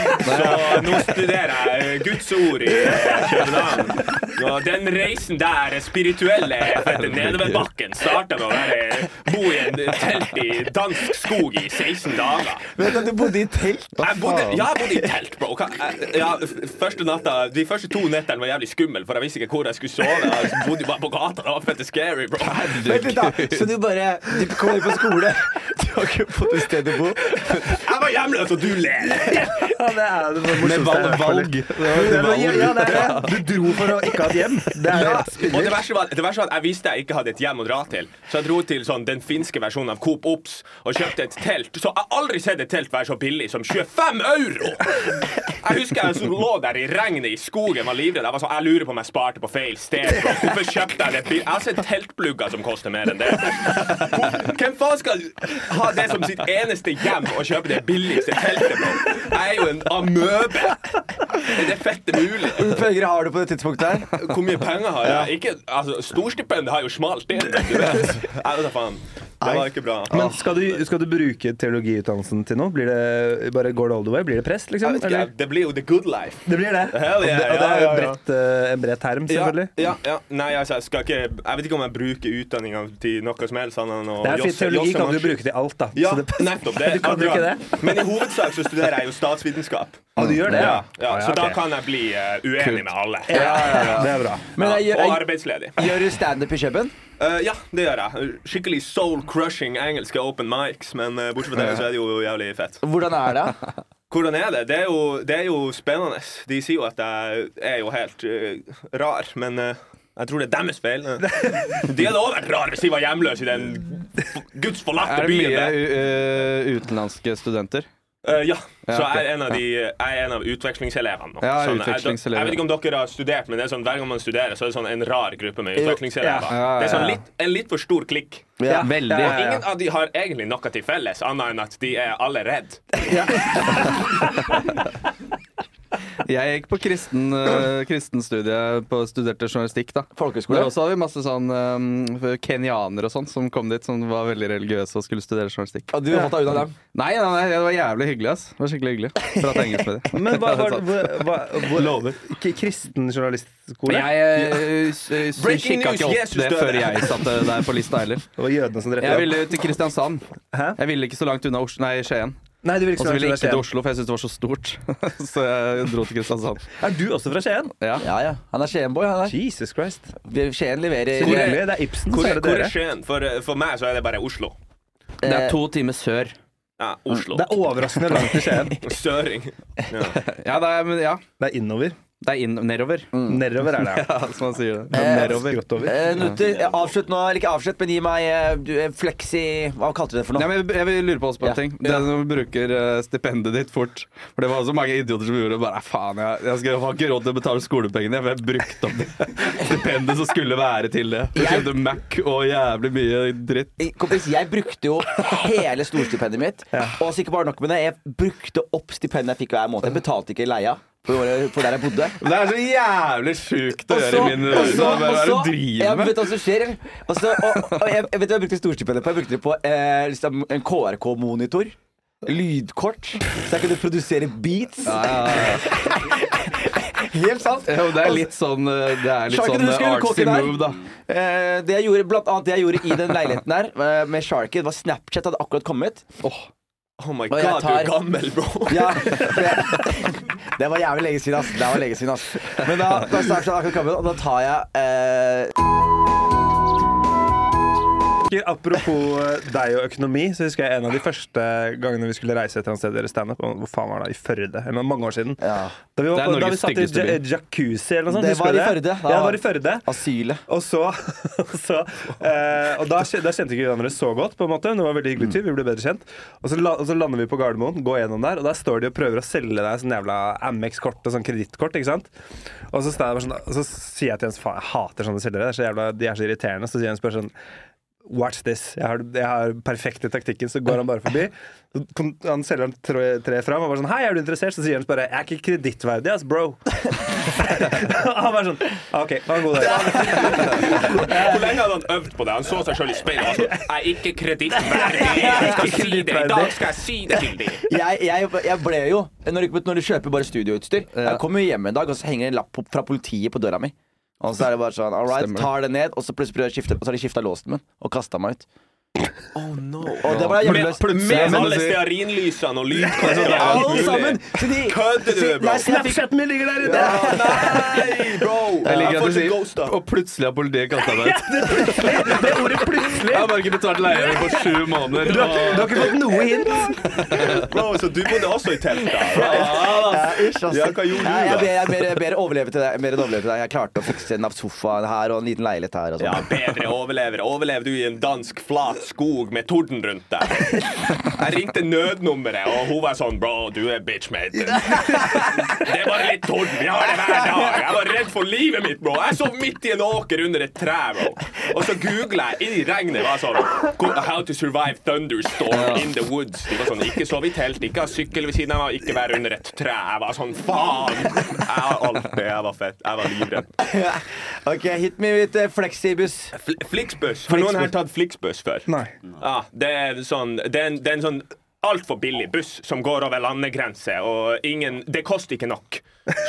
Så nå studerer jeg Guds ord i eh, København. Og den reisen der, spirituelle fette nedoverbakken, starta med å være, eh, bo i en telt i dansk skog i 16 dager. Vet du, du bodde i telt. Jeg bodde, ja, jeg bodde i telt, bro. Hva- jeg- Ja, f- første natta, de første to nettene var jævlig skummel, for jeg visste ikke hvor jeg skulle sove. Jeg bodde bare på gata. Det var fette scary, bro. Vent litt, da. Så du bare du kom inn på skole. Du har ikke fått et sted å bo. Jeg var hjemløs, og du ler! Ja, det er det morsomste. valg- valg. Det var- Ja, ja, det er det. Du dro for å ikke ha et hjem. Det er helt Og spinner. det verste, var, det verste var at jeg visste jeg ikke hadde et hjem å dra til. Så jeg dro til sånn, den finske versjonen av Coop Ops og kjøpte et telt. Så jeg har aldri sett et telt være så billig som 25 euro! Jeg husker jeg så lå der i regnet i skogen var livredd. Jeg var sånn, jeg lurer på om jeg sparte på feil sted. bro. Hvorfor kjøpte jeg det bil- Jeg har sett teltplugger som koster mer enn det. Hvor- Hvem faen skal ha det som sitt eneste hjem å kjøpe det billigste teltet, bro? Jeg er jo en amøbe. Er det fette mulig? Hvor mye penger har du på det tidspunktet her? Hvor mye penger har jeg? Ikke, altså, Storstipendet har jo smalt inn. <laughs> Du vet. Nei, vet da faen. Det var ikke bra. Ah. Men skal du, skal du bruke teologiutdannelsen til noe? Blir det, bare går det all the way? Blir det prest, Jeg vet liksom? ikke, Eller? det blir jo the good life. Det blir det. Hell Og det, yeah, og det er jo ja, et ja, ja. bredt, eh, en bred term, Ja, selvfølgelig. ja, ja. Nei, altså, jeg, skal ikke, jeg vet ikke om jeg bruker utdanninga til noe som helst annet enn å Det er fint, josse- Teologi josse kan du maskiner. bruke til alt, da. Ja, Så det, <laughs> nettopp. Det, Du kan akkurat. bruke det? Men i hovedsak så studerer jeg jo statsvitenskap. Å, du gjør det? Ja, ja, Å, så da ok. kan jeg bli eh, uenig med alle. Ja, <laughs> Det er bra. Men jeg, og jeg, arbeidsledig. gjør du standup i København? Eh, ja, det gjør jeg. Skikkelig soul-crushing engelske open mics, men eh, bortsett fra det så er det jo jævlig fett. Hvordan er det? Hvordan er det? Det er jo, det er jo spennende. De sier jo at jeg er jo helt eh, rar, men eh, Jeg tror det er deres <laughs> feil. De hadde også vært rare hvis de var hjemløse i den gudsforlatte Er det byen. mye der. u- ø, utenlandske studenter? Eh, ja. Ja, Så ok. jeg er en av, de, jeg er en av utvekslingselevene. nå. Ja, Sånn, jeg- utvekslingselever. Jeg vet ikke om dere har studert, men det er sånn, hver gang man studerer, så er det sånn en rar gruppe med utvekslingselever. ja, ja, Det er sånn ja. litt, en litt for stor klikk. Ja, <laughs> veldig. Og ingen av de har egentlig noe til felles, annet enn at de er alle redd. Jeg gikk på kristen, eh, kristenstudiet på studerte journalistikk. da Folkehøyskole? Der også hadde vi masse sånn eh, kenyanere og sånn som kom dit som var veldig religiøse og skulle studere journalistikk. Og du har fått deg unna dem. Nei, nei, nei, det var jævlig hyggelig. ass Det var skikkelig hyggelig Prate engelsk med <laughs> dem. Men hva <laughs> var Lover. Kristen journalistskole? Jeg eh, Breaking kikka news, ikke opp Jesus det døde. før jeg satte der på lista heller. Det var jødene som drepte Jeg dem. ville til Kristiansand. Hæ? Jeg ville ikke så langt unna Oslo, nei, Skien. Nei, du vil Og ikke så ville jeg være ikke til fra Skien. Oslo, for jeg syntes det var så stort. <laughs> Så jeg dro til Kristiansand. Er du også fra Skien? Ja. Ja, ja. Han er Skien-boy. han er. Jesus Christ. Skien leverer Hvor er det? Det er Ibsen, Hvor, så er det hvor er dere. Skien? For, for meg så er det bare Oslo. Det er to timer sør. Ja, Oslo. Det er overraskende langt <laughs> til Skien. Søring. Ja, det er, men, ja. Det er innover. Det er inn, nedover, Nedover er <laughs> det. <laughs> ja, som man sier det. Eh, nedover. Skrått over. Eh, Nutter, eh, avslutt nå. Eller ikke avslutt, men gi meg eh, du, eh, fleksi Hva kalte du det for Nei, noe? men jeg, jeg vil lure på også på en Ja. ting. Det er når du bruker eh, stipendet ditt fort. For det var også mange idioter som gjorde det. bare, "Nei, faen, jeg, jeg, skal, jeg har ikke råd til å betale skolepengene, for jeg brukte opp <laughs> det stipendet som skulle være til det. Jeg kjøpte Mac og jævlig mye dritt. Eh, Kompis, jeg brukte jo hele storstipendet mitt. Og så ikke bare nok med det, jeg brukte opp stipendet jeg fikk hver måned. Jeg betalte ikke leia for, for der jeg bodde. Men Det er så jævlig sjukt å Og gjøre i mine øyne. så- Hva er det og du så- ja, driver med? Vet du hva som skjer? eller? Og så, og, og jeg, jeg vet du hva jeg brukte storstipendet på? Jeg brukte det på eh, liksom en KRK-monitor. Lydkort. Så jeg kunne produsere beats. <laughs> Helt sant. Jo, det er Og- litt sånn, eh, det er litt Sharken, sånn du eh, skulle artsy koke der. move, da. Eh, det jeg gjorde, blant annet det jeg gjorde i den leiligheten der, <laughs> eh, med Sharken, var Snapchat hadde akkurat kommet. Oh my Og jeg god, du er tar- gammel, bro. <laughs> Ja, for jeg, <laughs> det var jævlig lenge siden, ass. Det var lenge siden, ass. Men da, da Snapchat hadde akkurat kommet, og da tar jeg eh, husker, apropos eh, deg og økonomi, så husker jeg en av de første gangene vi skulle reise et eller annet sted og gjøre standup. og Hvor faen var det? I Førde? Eller mange år siden. ja, Da vi, Det var, er på- da vi Norges satt i styggeste ja- by. jacuzzi eller noe sånt. Det husker var du i Førde. Da- Ja, det var i Førde. asylet. <laughs> Og så, og så eh, Og da, kje- da kjente ikke vi hverandre så godt, på en måte. Men det var veldig hyggelig tur. Vi ble bedre kjent. Og så, la, og så lander vi på Gardermoen, går gjennom der, og der står de og prøver å selge deg sånn jævla Amex-kort og sånn kredittkort, ikke sant. Og så, står jeg bare sånn, og så sier jeg til Jens faen, jeg hater sånne selgere. Det er så jævla, de er så irriterende. Så sier Jens bare sånn Watch this. Jeg har, jeg har perfekte taktikken, så går han bare forbi. Så kom- Han selger han tre, tre fram og bare sånn Hei, er du interessert? Så sier han bare Jeg er ikke kredittverdig, ass, bro. <laughs> han bare sånn OK, ha en god dag. Hvor lenge hadde han øvd på det? Han så seg sjøl i speilet <laughs> og var sånn Jeg er ikke <laughs> kredittverdig. Jeg skal si det. I dag skal jeg si det til deg. Jeg, jeg, jeg ble jo når du, når du kjøper bare studioutstyr Jeg kommer jo hjem en dag, og så henger det en lapp på- fra politiet på døra mi. Og så er det bare sånn, all right, Stemmer det. tar det ned, og så plutselig prøver jeg å skifte Og så har de skifta låsen min og kasta meg ut. Og da var jeg Med, hjemløs. med Oh, Men alle det sier- stearinlysene og lydkonserter. Alle sammen! Så de, Kødder du, så- bro? Nei, så jeg fikk min ligger der ute! Nei, bro! Jeg liker Jeg får at du ikke sier ghosta. Og plutselig har politiet kasta <laughs> meg ut. Det ordet plutselig! Jeg har bare ikke betalt leia mi på sju måneder. Du har, ikke- du har ikke fått noe hint. Bro, så du bodde også i telt, da? Ish, ass. Ja, hva gjorde du Nei, da? jeg ber- Jeg ber- jeg ber overleve til deg. Mer enn overleve til deg. Jeg klarte å fikse en sofa her og en liten leilighet her. Og Ja, sånn. bedre overlevere. Overlever du i en dansk flat skog med torden rundt deg? Jeg ringte nødnummeret, og hun var sånn Bro, du er bitch, mate. Det er bare litt torden. Vi har det hver dag. Jeg var redd for livet mitt, bro. Jeg sov midt i en åker under et tre, bro. Og så googla jeg i regnet. Var sånn How to survive thunderstorm in the woods. De var sånn Ikke sove i telt, ikke ha sykkel ved siden av, meg, ikke være under et tre. Jeg var sånn Faen! Jeg har alt det. Jeg var fett. Jeg var livredd. <laughs> Ok, hit me with eh, flexibus. Fl- Flixbuss. Har noen her tatt Flixbuss før? Nei. Ja, det er sånn, det er en, det er en sånn altfor billig buss som går over landegrense, og ingen, det koster ikke nok.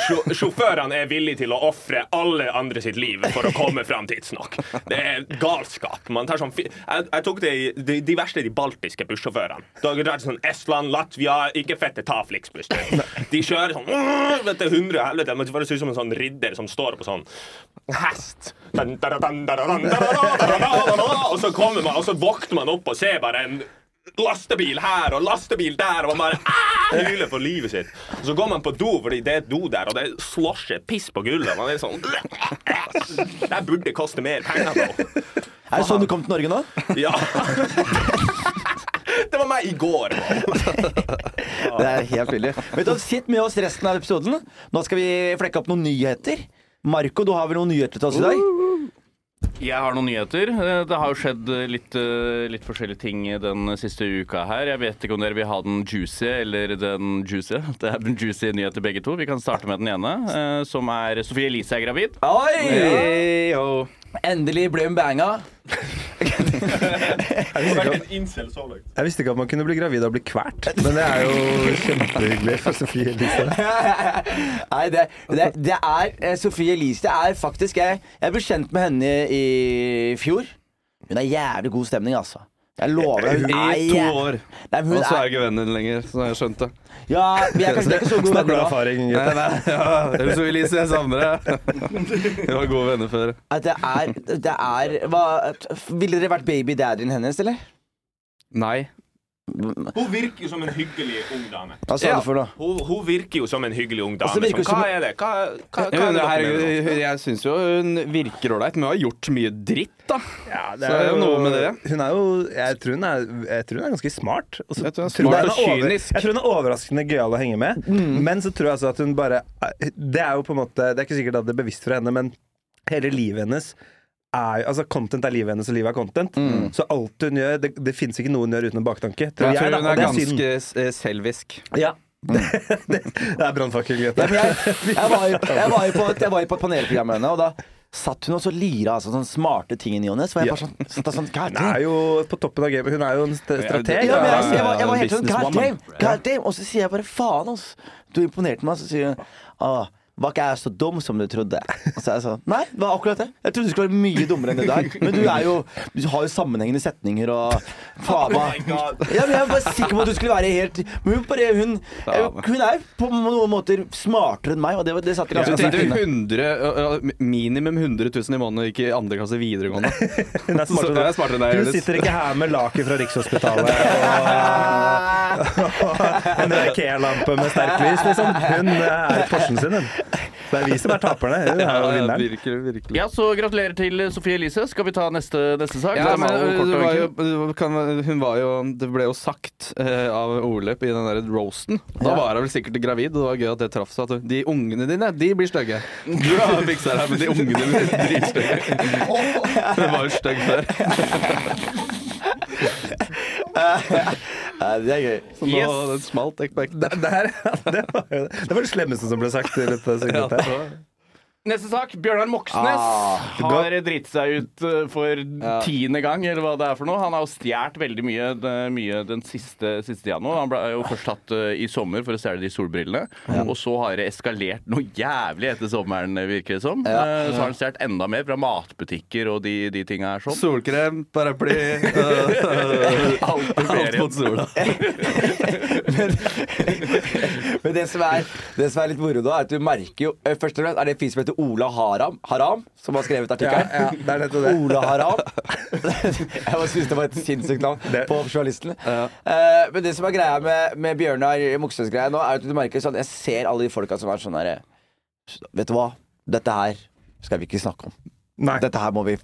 Sjo- Sjåførene er villige til å ofre alle andre sitt liv for å komme fram tidsnok. Det er galskap. Man tar sånn, fi- jeg, jeg tok det i de, de verste de baltiske bussjåførene. Da er det sånn Estland, Latvia, ikke fette ta Flixbuss. De kjører sånn «Åh», vet du, 100 og helvete. Men det føles ut som en sånn ridder som står på sånn hest. Dun, dun, dun, dun, dun, dun, dun, dun, dun, dun. Og så kommer man, og så våkner man opp og ser bare en lastebil her og lastebil der, og man bare «Ah!» hyler for livet sitt. Og så går man på do, fordi det er et do der, og det er slosje, piss på gulvet. Man er sånn <laughs> Det her burde koste mer penger, bro. <laughs> Er det sånn du kom til Norge nå? Ja. <laughs> Det var meg i går. bro. Det er helt villig. Vet du, hva, Sitt med oss resten av episoden. Nå skal vi flekke opp noen nyheter. Marco, du har vel noen nyheter til oss i dag? Jeg har noen nyheter. Eh, Det har jo skjedd eh, litt, eh, litt forskjellige ting den siste uka her. Jeg vet ikke om dere vil ha den juicy eller den juicy. <laughs> Det er den juicy nyheter begge to. Vi kan starte med den ene, eh, som er Sofie Elise er gravid. Oi! Endelig ble hun banga. Jeg visste, ikke at, jeg visste ikke at man kunne bli gravid av å bli kvalt, men det er jo kjempehyggelig for Sofie liksom. <laughs> Elise. Nei, det, det, det er eh, Sofie Elise det er faktisk jeg, jeg ble kjent med henne i fjor. Hun er jævlig god stemning, altså. Jeg lover deg. Hun er I to jæv- år. Nei, men Og hun så Altså, er er, jeg ikke venner lenger, så har jeg skjønt det. ja, vi er kanskje ikke så Snakker gode du venner av nå. erfaring? <laughs> Nei, gutter? nei, <laughs> ja. Eller så Elise, jeg savner <laughs> deg. Vi var gode venner før. At det er, det er hva, Ville dere vært babydaddyen hennes, eller? Nei. Hun virker jo som en hyggelig ung dame. Hva sa Ja. du for noe? Hun, hun virker jo som en hyggelig ung dame. Altså, virker som, som- hva er det? Hva, hva, hva Ja, er men det dere herregud, mener? hun- jeg syns jo hun virker ålreit, men hun har gjort mye dritt, da. Ja, Så er det jo noe med det. Hun er jo Jeg tror hun er, jeg tror hun er ganske smart. Og så Jeg tror hun jeg er smart hun og er over- kynisk. Mm. Jeg tror hun er overraskende gøyal å henge med. Men så tror jeg altså at hun bare Det er jo på en måte Det er ikke sikkert at det er bevisst fra henne, men hele livet hennes er jo Altså Content er livet hennes, og livet er content. Så alt hun gjør Det, det fins ikke noe hun gjør uten en baktanke. Tror Mm. Jeg jeg, tror da, hun og er det er synd. ganske s- eh, selvisk. Ja. det er brannfakkel, Ja, Grete. men jeg, <laughs> jeg, var jo, jeg, var jo på, et- jeg var jo på et panelprogram med henne, og da satt hun og så lira altså, sånne smarte ting i ny og ne. Så var jeg Ja. bare sånn, satt der sånn God Hun damn. er jo på toppen av gamet. Hun er jo en st- strateg. Ja, men jeg, Ja, jeg, var, jeg var ja, helt sånn God businesswoman. damn, God damn. Og så sier jeg bare faen, ass. Du imponerte meg. Så sier hun ah, var ikke jeg så dum som du trodde? Og så er jeg sånn Nei, det var akkurat det. Jeg trodde du skulle være mye dummere enn det der. Men du er jo Du har jo sammenhengende setninger og faen Oh meg. Ja, men jeg var bare sikker på at du skulle være helt Men hun bare Hun, hun er jo på noen måter smartere enn meg, og det, var- det satt Ja, ganske så langt tenkte inne. hun 100, ja, ja, minimum 100 000 i måneden og gikk i andre klasse videregående. Hun er Så smartere jeg enn er smartere enn deg. deg, Hun Jonis. sitter ikke her med laken fra Rikshospitalet <laughs> og en IKEA-lampe med sterklys, liksom. Hun er i Porschen sin, hun. Det er vi som er taperne. Hun er jo Ja, ja, vinneren. virkelig, virkelig. Ja, så gratulerer til Sofie Elise. Skal vi ta neste, neste sak? Ja, Den men øh, eh, var jo kort det, og var jo, enkel. det kan, øh, hun var jo Det ble jo sagt eh, av Orlep i den der roasten. Da var hun vel sikkert gravid, og det var gøy at det traff seg. At de ungene dine, de blir stygge. Du har fiksa det her, men de ungene dine er <laughs> dritstygge. Hun var jo stygg før. Nei, det er gøy. Så nå den smalt ekte på ekte. Det, her, <laughs> det, var, jo- det var det slemmeste som ble sagt i dette segmentet. her. Neste sak. Bjørnar Moxnes har driti seg ut eh, for tiende gang, eller hva det er for noe. Han har jo stjålet veldig mye, det- mye den siste, siste tida nå. Han ble jo først tatt eh, i sommer for å stjele de solbrillene. Og så har det eskalert noe jævlig etter sommeren, eh, virker det som. Eh, Så har han stjålet enda mer fra matbutikker og de, de tinga her sånn. Solkrem, <laughs> paraply øh, Alt i Alt ferien. mot sola. Men det som er, det som er litt moro da, er at du merker jo eh, Først og fremst er det en fyr som heter Ola Haram, Haram som har skrevet artikkelen. Ja, ja, det er nettopp det. Ola <laughs> Haram. Jeg bare synes det var et sinnssykt navn Det- på journalisten. Eh, men det som er greia med, med Bjørnar Moxnes-greia nå, er at du merker sånn Jeg ser alle de folka som er sånn herre Vet du hva? Dette her skal vi ikke snakke om. Nei. Dette her må vi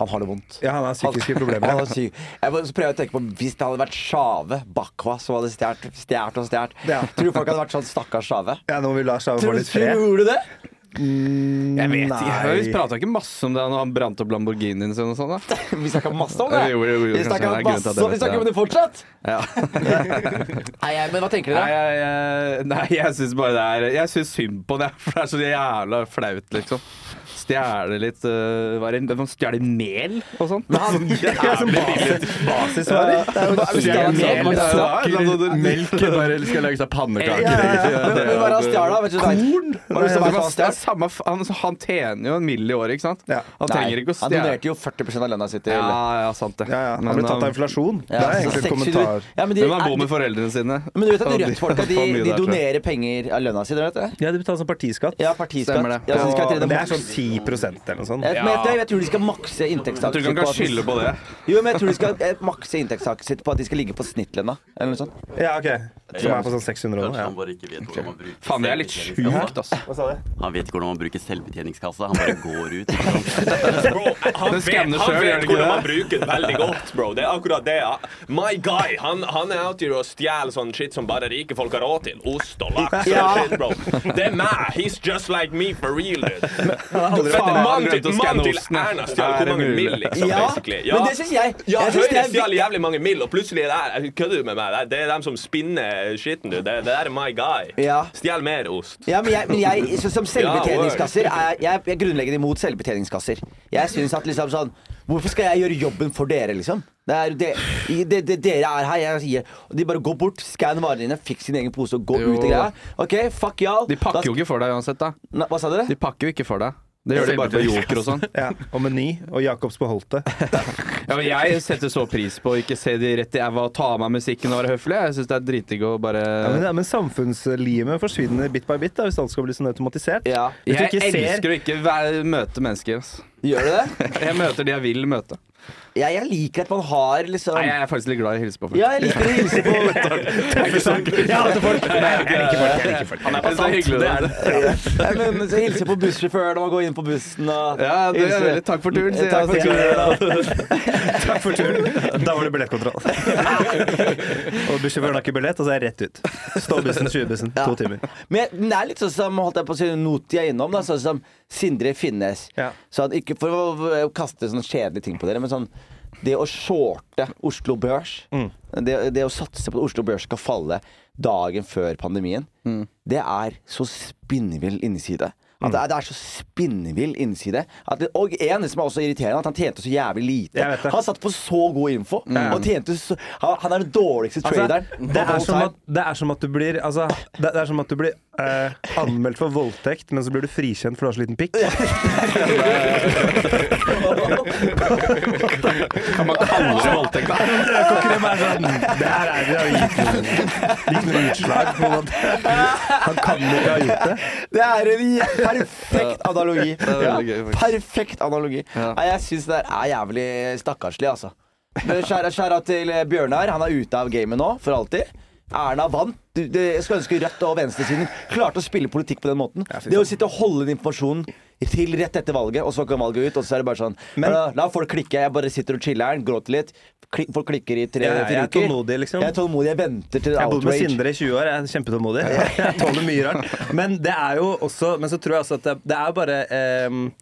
Han har det vondt. Ja, han har psykiske problemer. <laughs> Han har psy- Jeg bare prøver å tenke på Hvis det hadde vært Sjave Bakwa som hadde stjålet stjålet og stjålet, Ja. tror du folk hadde vært sånn stakkars Sjave? Ja, nå vil Lars ha Tror, få litt fred. tror du Mm, det? Jeg vet ikke. Vi Nei. prata ikke masse om det når han brant opp Lamborghinien sin og sånn. da <laughs> Vi snakka masse om det. Jo, jo, jo, vi kanskje snakka det er grunnen masse til at jeg om vet Vi snakker det. om det fortsatt. Ja. <laughs> Nei, jeg- men hva tenker Nei, dere? jeg, jeg, nei, jeg syns bare det er Jeg syns synd på det, for det er så jævla flaut, liksom. Stjele litt øh, Hva er det? Man stjeler mel og sånn. Han- Ja, som basis, basisvarer. Det er jo bare- Hvis det er en sånn- Mel, Ja, sukker, Melk bare skal lage seg ja, pannekaker. ja. Men hva er det han stjal, da? Vet du, Korn? Hva er det som er Men hva han, han det er stjal? samme, f- han, han tjener jo en mill i året, ikke sant? Ja. Han trenger ikke å han stjele. donerte jo 40 av lønna si til Ja, ja, sant det. øh, Ja, ja. Han ble tatt av inflasjon. Det Ja, er så egentlig et 600 kommentar. Ja, men, de, Men man bor er, med foreldrene sine. men du vet at Så de rødt-folka de, får de mye derfra. donerer penger av lønna si? Dere vet det? Ja, de betaler sånn partiskatt. Ja, partiskatt. Stemmer det. Ja, så de skal Og til det det er maks- sånn 10 eller noe sånt. Jeg, Eh, men jeg, jeg tror de skal makse Jeg tror ikke inntektstaket han kan skylde på det. Jo, men jeg tror de skal eh, makse inntektstaket sitt på at de skal ligge på snittlønna. Eller noe sånt. Ja, ok Som er på sånn 600 Kanskje nå. han bare ikke vet hvordan man bruker Faen, det er litt selvbetjeningskassa. sjukt, altså. Hva sa du? Han vet ikke hvordan man bruker selvbetjeningskassa. Han bare går ut. Ikke sant? <laughs> Bro, han vet, han skanner selv, gjør vet det hvordan ikke det? man bruker den veldig godt, bro. Det er akkurat det. ja. My guy, han, han er out here og stjeler sånn shit som bare rike folk har råd til. Ost og laks og shit, bro. Det er meg. He's just like me for real, dude. Faen, mann glemt til, å skanne mann til osten, ja. Erna stjal Er hvor det mange mulig? mill, liksom, Ja, basically. men det synes jeg- Ja, jeg synes det Høyre er stjal jævlig mange mill, og plutselig er det Kødder du med meg? Det er- Det er dem som spinner skitten, du. Det, det er my guy. Ja. Stjel mer ost. Ja, men jeg, men jeg så, som selvbetjeningskasser Ja, er jeg, jeg er grunnleggende imot selvbetjeningskasser. Jeg synes at liksom sånn Hvorfor skal jeg gjøre jobben for dere, liksom? Det er, det, det, det, dere er her, jeg sier og De bare går bort, skann varene dine, fikk sin egen pose og gå Jo. ut i greia. OK, fuck y'all. De pakker jo ikke for deg uansett, da. Nei, Hva sa dere? De pakker jo ikke for deg. Det gjør de bare på Joker og sånn. Ja, og Meny og Jacobs beholdte. Ja, men jeg setter så pris på å ikke se de rett i æva og ta av meg musikken og være høflig. Jeg syns det er dritdigg å bare Ja, men, ja, men samfunnslimet forsvinner bit by bit da, hvis alt skal bli sånn automatisert. Ja. Hvis du Jeg ikke ser elsker å ikke væ- møte mennesker. ass. Gjør du det? Jeg møter de jeg vil møte. Jeg, jeg liker at man har liksom Nei, jeg er faktisk litt glad i å hilse på folk. Ja, jeg liker å hilse på Jeg hater folk! Han er bastant, det er det. Nei, men så Hilse på bussjåføren og gå inn på bussen og Ja, det er hilse. Eh, veldig Takk for turen, sier Takk for jeg. turen. <laughs> Takk for turen. Da var det <laughs> billettkontroll. og bussjåføren har ikke billett, og så er jeg rett ut. Ståbussen, 20-bussen, Ja. to timer. Men jeg- det er litt sånn som holdt jeg på å si Noti er innom, da, sånn som Sindre Finnes. Ja. Så at ikke For å kaste sånne kjedelige ting på dere, men sånn Det å shorte Oslo Børs, Mm. det, det å satse på at Oslo Børs skal falle dagen før pandemien, det er så spinnvill innside. Mm. At det, er, det er så spinnvill innside. At det, og en som er også irriterende, at han tjente så jævlig lite. Jeg vet det. Mm. Han satt på så god info. Og tjente så, han, han er den dårligste Altså, traderen. det, of all er som time. at, det er som at du blir, altså, det, det er som at du blir eh, anmeldt for voldtekt, men så blir du frikjent for du har så liten pikk. Kan man kalle det voldtekt, da? Økokrem er sånn Det her er det har gitt noe- gitt noe utslag på en måte. Han kan ikke ha gjort det. Det er en jæ- perfekt analogi. er veldig Ja, gøy, faktisk. perfekt analogi. Nei, Jeg syns det er jævlig stakkarslig, altså. Men Skjæra, skjæra til eh, Bjørnar. Han er ute av gamet nå, for alltid. Erna vant. Du, det, jeg skulle ønske Rødt og venstresiden klarte å spille politikk på den måten. Det å sitte og holde den informasjonen til rett etter valget, og så kan valget ut, og så er det bare sånn La, la folk klikke. Jeg bare sitter og chiller'n, gråter litt. Kli, folk klikker i Jeg, tre-fire uker. jeg er tålmodig, liksom. Jeg er tålmodig. Jeg venter til Jeg har bodd med outrage. Sindre i 20 år. Jeg er kjempetålmodig. <laughs> Jeg tåler mye rart. Men det er jo også Men så tror jeg også at det, det er bare ehm,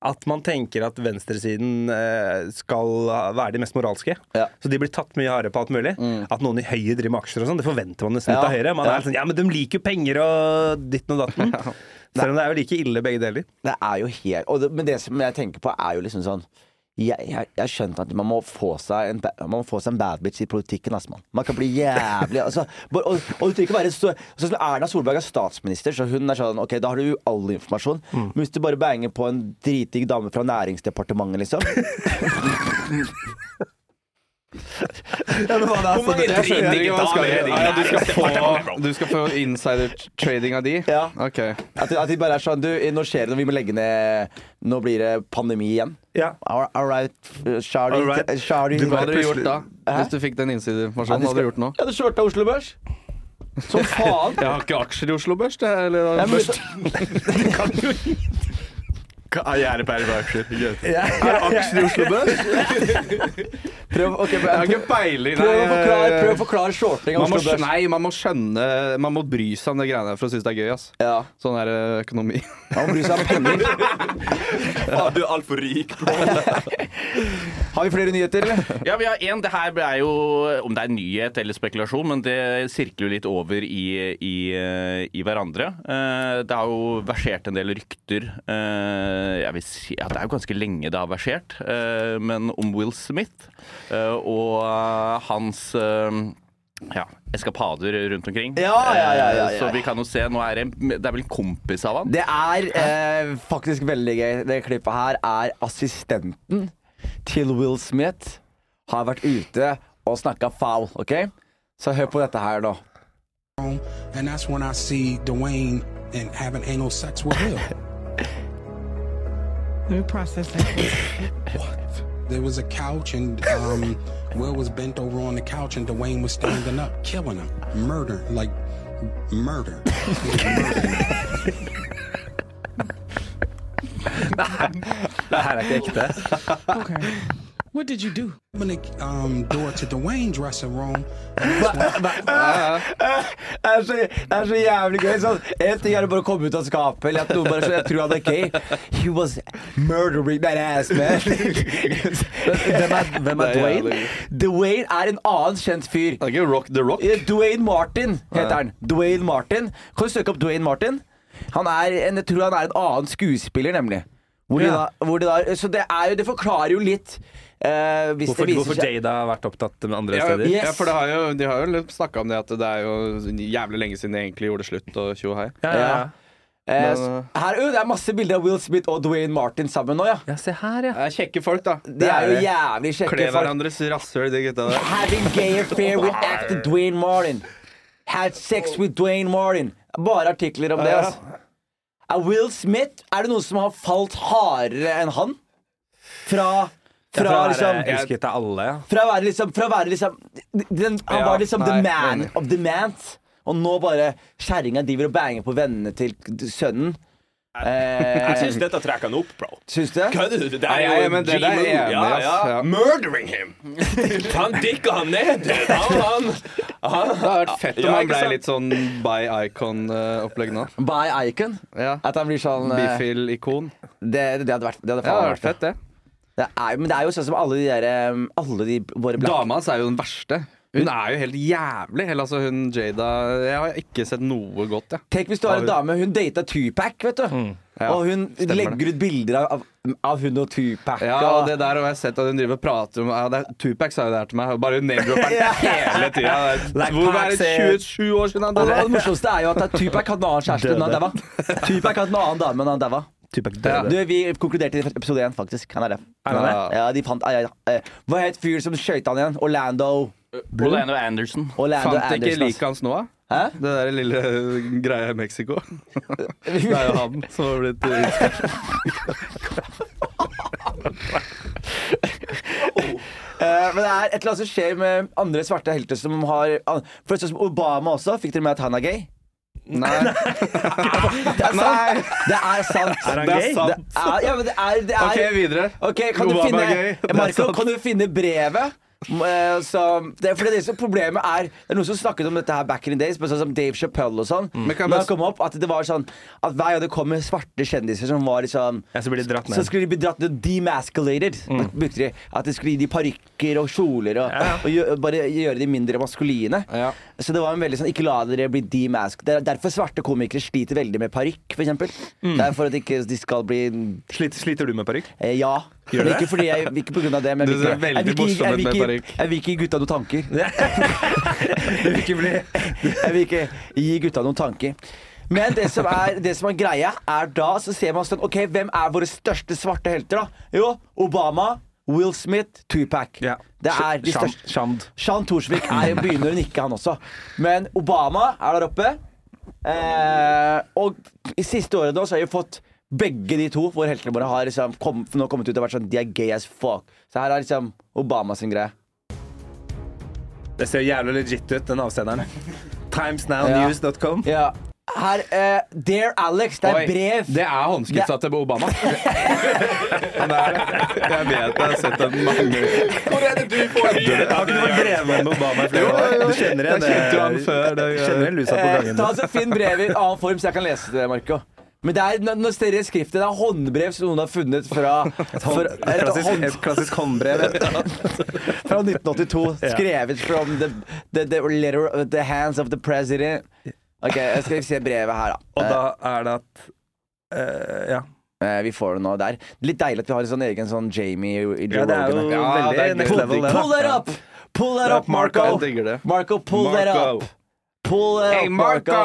at man tenker at venstresiden eh, skal være de mest moralske. Ja. Mm. Så de blir tatt mye hardere på alt mulig. At noen i Høyre driver med aksjer og sånn, det forventer man nesten Ja. litt av Høyre. Man Ja. er sånn, ja, men de liker jo penger og ditten og <laughs> datten. Selv om det er jo like ille begge deler. Det er jo helt og det, Men det som jeg tenker på, er jo liksom sånn jeg, jeg, jeg har skjønt at man må få seg en, ba- man må få seg en bad bitch i politikken. ass, mann. Man kan bli jævlig altså, bare- og, og du trenger ikke være så, Sånn som Erna Solberg er statsminister, så hun er sånn OK, da har du jo all informasjon. Mm. Men hvis du bare banger på en dritdigg dame fra Næringsdepartementet, liksom Hvor mange Jeg skjønner dritdigge ikke hva skal damer er det i Ja, ja, du skal Næringsdepartementet, bro? få- Du skal få insider-trading av de? Ja. Ok. At, de- at de bare er sånn Du, nå skjer det noe, vi må legge ned Nå blir det pandemi igjen. Ja. All, all right, Charlie. All right. Charlie Du Hva hadde du plutselig- gjort da? Hvis du fikk den Ja, de innsiderinformasjonen, hva hadde du skal- gjort nå? Jeg hadde kjørt av Oslo Børs. Som faen. Jeg har ikke aksjer i Oslo Børs. Det, eller, Jeg børs. må- Gjerdepære ah, på aksjer. aksjer i Oslo Børs? Prøv, ok, Jeg har prøv, ikke peiling. prøv, å forklare, prøv å nei. forklare shorting av Man må, Oslo skjønne, Børs. nei, man må skjønne Man må bry seg om det greiene der for å synes det er gøy. Ass. Ja, Sånn er eh, <laughs> økonomi. han må bry seg om penger. Faen, Du er altfor rik. Har vi flere nyheter, eller? Ja, vi har en, det her er jo, om det er nyhet eller spekulasjon, men det sirkler jo litt over i, i, i hverandre. Eh, Det har jo versert en del rykter. eh, Jeg vil si at det er jo ganske lenge det har versert, eh, men om Will Smith eh, og eh, hans eh, ja, eskapader rundt omkring. Ja, ja, ja, ja, Eh, ja. Så vi kan jo se, nå er det, det er vel en kompis av han. Det er eh, faktisk veldig gøy. Det klippet her er assistenten til Will Smith har vært ute og snakka foul, OK? Så hør på dette <laughs> her nå. and that's when I see Dwayne and having anal sex with Will. Let me process that. There was a couch, and um, Will was bent over on the couch, and Dwayne was standing up, killing him, murder, like murder. Det her er ikke ekte. okay. What did you do? Opening the um, door to Dwayne's dressing room. Det er, så, det er så jævlig gøy. Sånn. En ting er det bare å komme ut av skapet, eller at noen bare så, jeg tror han er gay. He was murdering that ass, <laughs> man. Hvem er, hvem er Det er Dwayne? jævlig. Dwayne er en annen kjent fyr. Det er ikke Rock the Rock. Eh, Dwayne Martin heter han. Dwayne Martin. Kan du søke opp Dwayne Martin? Han er en, jeg tror han er en annen skuespiller, nemlig. Hvor de da, hvor de da, så det, er jo, det forklarer jo litt. eh, hvis Hvorfor, det viser hvorfor seg- Jada har vært opptatt med andre Ja, steder? Yes. ja, for det har jo, de har jo snakka om det at det er jo jævlig lenge siden de egentlig gjorde slutt og tjo og hei. Ja, ja, ja. Ja. Eh, s- Men, her, ø, det er masse bilder av Will Smith og Dwayne Martin sammen nå, ja. ja, se her, ja. Det er kjekke folk, da. De er jo jævlig Kle kjekke folk. hverandres rasshøl, de gutta <laughs> der. Having gay affair with actor Dwayne Martin. Had sex with Dwayne Martin. Bare artikler om det, Ja. altså. Er Will Smith Er det noen som har falt hardere enn han? Fra fra, Fra å liksom, være elsket av alle, ja. fra å være liksom Fra å være liksom den, Han Ja, var liksom nei, the man enig. of the man. Og nå bare kjerringa driver og banger på vennene til sønnen. Eh, Jeg syns dette trekker han opp, bro. syns du det? Kødder du? Det Nei, er jo nei, en men det der er G-move. jeg enig i, Ja, ass. ja. Ja. Murdering him! <laughs> Han dikka han ned! Han, han, han. Det hadde vært fett om Ja, Ah. han ikke ble sant? litt sånn by icon-opplegg nå. By Icon? Ja. At han blir sånn eh, Bifil-ikon. Ja, Det, det hadde vært, det hadde det faen hadde vært vært fett, det. Det er, men det er jo sånn som alle de der um, Alle de våre black Dama hans er jo den verste. Hun er jo helt jævlig. Eller altså, hun Jada Jeg har ikke sett noe godt, jeg. Tenk hvis du har en dame Hun data Tupac, vet du. Mm. Ja, og hun stemmer legger ut bilder av, av, av hun og Tupac. Ja, og- og det der har jeg sett at hun driver og prater om ja, det er, Tupac sa jo det her til meg. og Bare hun <laughs> nedropper den hele tida. Like Hvor Pac er det said. 27 år siden han og det døde? morsomste er jo at Tupac hadde en annen kjæreste enn han daua. Tupac hadde en annen dame enn han daua. Tupac Ja. Du, Vi konkluderte i episode én, faktisk. Han er det. han det? Ja, de fant ja, ja, ja. Hva het fyren som skøyt han igjen? Orlando. Orlando Anderson. Orlando Fant ikke Anderson, liket hans nå, da? Hæ? Det der lille øh, greia i <laughs> Mexico. Det er jo han som har blitt øh, utskapt. Eh, men det er et eller annet som skjer med andre svarte helter som har For sånn som Obama også. Fikk dere med at han er gay? <laughs> Nei, Det er sant! Det er Er sant. han det gay? er sant. Det er, ja, men det er, det er OK, videre. Ok, kan du Obama finne er gay. Det er Marco, sant. kan du finne brevet? Eh, som, det, er- for det, er det som problemet er Det er noen som snakket om dette her back in the days, men sånn som Dave Chappelle og sånn. Mm. Men kan jeg Når bare- han kom opp, at det var sånn At hver gang det kom med svarte kjendiser som var liksom Ja, så blir de dratt så ned. skulle de bli dratt ned demasculated. Mm. Da brukte de At de skulle gi de parykker og kjoler og, Ja. og gjø bare gjøre de mindre maskuline. Ja. Så det var en veldig sånn Ikke la dere bli demasked. Det er derfor svarte komikere sliter veldig med parykk, f.eks. Mm. Det er for at ikke de skal bli Sliter, sliter du med parykk? Eh, ja. Gjør men det? ikke fordi jeg Ikke på grunn av det, men Du jeg vil ser ikke- veldig jeg vil ikke- morsom jeg ut vil med ikke- parykk. Jeg vil ikke gi gutta noen tanker. Det vil ikke bli Jeg vil ikke gi gutta noen tanker. Men det som er, det som er greia, er da så ser man sånn OK, hvem er våre største svarte helter, da? Jo, Obama, Will Smith, Tupac. Ja. Det er de Shand- største. Shand. Shan Torsvik er, begynner å nikke, han også. Men Obama er der oppe. Eh, og i siste året nå så har vi fått begge de to, hvor heltene våre har liksom kom, nå kommet ut og vært sånn De er gay as fuck. Så her er liksom Obama sin greie. Det ser jævlig legit ut, den <laughs> avsenderen. Ja. Timesnownews.com. Ja. Her eh, Dear Alex, det er Oi, brev. Det er håndskriftsa til Obama. det er det. Jeg vet det. Jeg har sett den mange ganger. Hvor er det du får Har ikke du vært drevet med Obama i flere år? Du kjenner Jeg igjen kjente jo han før. Det, Kjenner igjen lusa på Eh, gangen. ta altså Finn brevet i en annen form, så jeg kan lese det, Marco. Men det er, når dere skriftet, det er håndbrev som noen har funnet fra, fra, <laughs> Et et klassisk, hånd, et klassisk håndbrev. fra 1982. <laughs> Skrevet from the, the, the, letter, the hands of the president. Ok, jeg skal se brevet her, da. Og da er det at eh, Ja. Eh, vi får det nå der. Litt deilig at vi har en sånn egen sånn Jamie i Joe ja. Det er jo Rogan. Ja, det er veldig next gøy. level, det. Pull da. that up! Pull that up, Marco! Jeg digger det. Marco, pull that up! Pull that up, <laughs> Marco!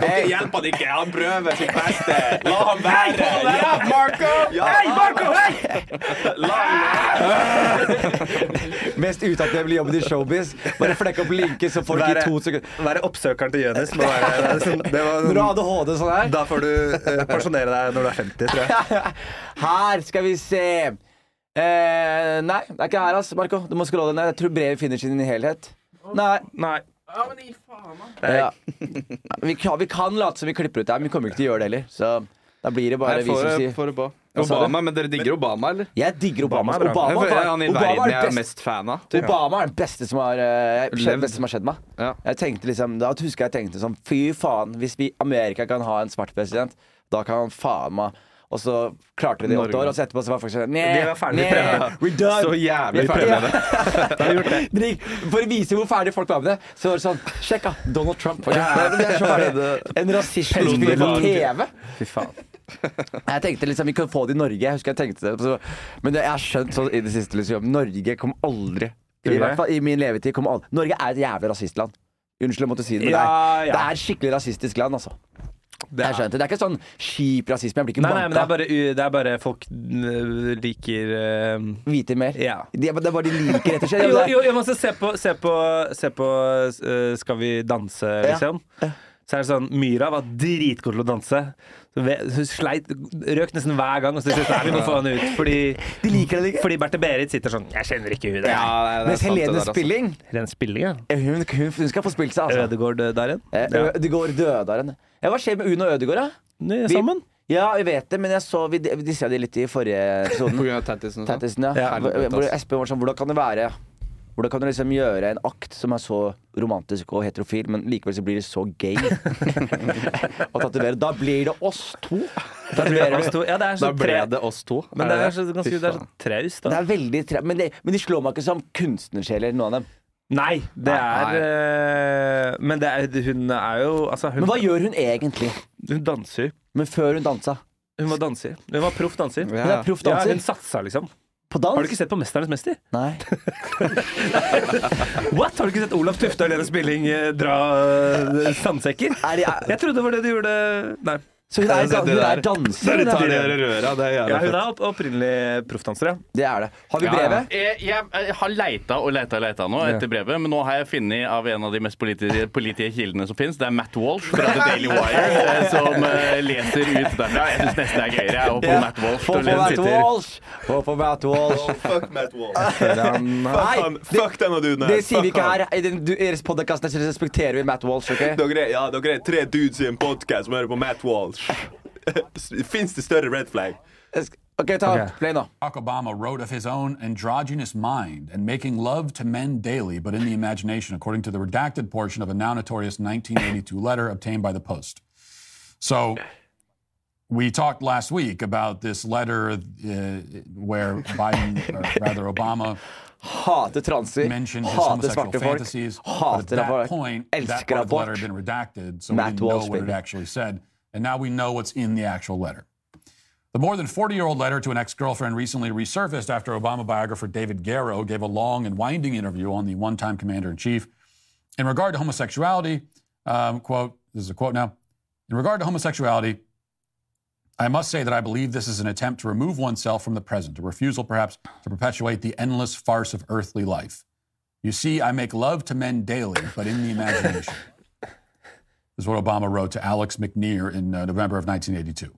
Dere hjelper han ikke. Han prøver sitt beste. La ham være. Hjelp, Marco! Hei, Marco! La ham være. <laughs> Mest utakknemlige jobben i showbiz. Bare flekke opp linker, så folk i Være, to sekunder være oppsøkeren til Jonis. må være- det er sånn- det var Når du har sånn- ADHD sånn her <laughs> Da får du eh, pensjonere deg når du er 50, tror jeg. Her skal vi se. Eh, nei, det er ikke her, ass, Marco. Du må scrolle ned. Jeg tror brevet finner sin helhet. Nei. Nei. Ja. <laughs> Vi, kan, vi kan late som vi klipper ut det her, men vi kommer jo ikke til å gjøre det heller. Så da blir det bare Nei, vi får, som sier får det på. Hva sa du? Obama, men dere digger Obama, eller? Jeg digger Obama. ass. Jeg Obama, føler jeg er han i Obama, verden er jeg det er beste, mest fan av. Obama er den beste som har, eh, jeg- Levd. beste som har skjedd meg. Ja. Jeg tenkte liksom, da husker jeg tenkte sånn Fy faen, hvis vi Amerika kan ha en svart president, da kan faen meg Og så klarte vi det i åtte Norge. år, og så etterpå så var folk sånn De var ferdig med Nei, we're done. Så Vi jævlig er ferdig. prøve det. <laughs> <laughs> Drik, for å vise hvor ferdig folk var med det, så var det sånn Sjekk, da. Donald Trump. faktisk. Det er så <laughs> ferdig. En rasistisk fyr på TV. Fy faen. Jeg tenkte liksom vi kan få det i Norge. Jeg husker jeg tenkte det så- Men det, jeg har skjønt sånn i det siste liksom, Norge kom aldri I det? hvert fall i min levetid kom aldri Norge er et jævlig rasistland. Unnskyld, jeg måtte si det, men Ja, det, er, ja. det er et skikkelig rasistisk land, altså. Det er, skjønt. det er ikke sånn kjip rasisme. Jeg blir ikke Nei, nei, men det banka. er bare, u- det er bare folk øh, liker øh, Hvite mer. Ja. De, det er bare de liker, rett og <laughs> slett. Jo, Det er- jo, jo men så se på, se på, se på øh, Skal vi danse, liksom. Så er det sånn, Myra var dritgod til å danse. Så ve- Hun sleit, røk nesten hver gang. Og så til slutt er vi må få henne ut. Fordi, De liker det ikke. fordi Berthe-Berit sitter sånn Jeg kjenner ikke hun der. Ja, nei, det er Mens sant, det der, Helene altså. Spilling, eh, Ren spilling, ja. hun, hun, hun skal få spilt seg, altså. Ødegård øh, der igjen. Eh, Ødegaard Dødaren. Ja, hva skjer med Uno og Ødegaard, da? Nei, Vi- Sammen. Ja, jeg vet det, men jeg så, vi dissa de litt i forrige <laughs> På episoden. grunn av tattisen og sånn. Tattisen, ja. Ja. Hvor- Hvor Espen var sånn, hvordan kan det være Hvordan kan du liksom gjøre en akt som er så romantisk og heterofil, men likevel så blir det så gay? og tatovere. Da blir det oss to. Tatoverer vi. Ja, det er Da så ble tre- det oss to. Men det er så Fy ganske det er så faen. traust, Det da. er veldig tre men, det, men de slår meg ikke som kunstnersjeler, noen av dem. Nei, det Nei, er øh, Men det er, hun er jo Altså, hun, Men hva gjør hun egentlig? hun danser. Men før hun dansa. Hun var danser. Hun var proff danser. Ja, Hun er ja. proff Ja, hun danser. satsa, liksom. På Har du ikke dans? sett på 'Mesternes mester'? Nei. What? Har du ikke sett Olav Tufte og Helene Spilling eh, dra eh, sandsekker? Er de, er, Jeg trodde det var det du gjorde Nei. så hun er, det hun er der. danser? Dere hun er- tar dere røra, det gjør Ja, jeg. hun er opp opprinnelig proffdanser, ja. Det er det. Har vi brevet? Jeg, Eh, jeg, jeg har leita og leita og leita nå etter brevet, men nå har jeg funnet av en av de mest politiske, politiske kildene som fins. Det er Matt Walsh fra The <laughs> Daily Wire eh, som eh, leser ut derfra. Jeg syns nesten det er gøyere å få Ja. Matt Walsh Få til å på Matt lese sitter. Walsh! Få på Matt Walsh! Fuck Matt Wall. <laughs> Nei, Fuck han, fuck denne duden her. Det sier vi Fuck ikke han. her. I den, du, deres podkast respekterer vi Matt Walsh, OK? Dere er, ja, dere er tre dudes i en podkast som hører på Matt Walsh. <laughs> Fins det større red flag? Ok, ta play nå. Barack Obama wrote of his own androgynous mind and making love to men daily, but in the imagination, according to the redacted portion of a now notorious 1982 letter obtained by the Post. So, we talked last week about this letter uh, where Biden, or rather Obama, Hater transer. mentioned his Hater homosexual svarte folk. fantasies. but at Hater that abort. point, that Elsker part of the letter abort. had been redacted, so we Matt didn't know Walsh, what it baby. actually said. And now we know what's in the actual letter. The more than 40 year old letter to an ex girlfriend recently resurfaced after Obama biographer David Garrow gave a long and winding interview on the one time commander in chief. In regard to homosexuality, um, quote, this is a quote now. In regard to homosexuality, I must say that I believe this is an attempt to remove oneself from the present, a refusal perhaps to perpetuate the endless farce of earthly life. You see, I make love to men daily, but in the imagination. This is what Obama wrote to Alex McNear in uh, November of 1982.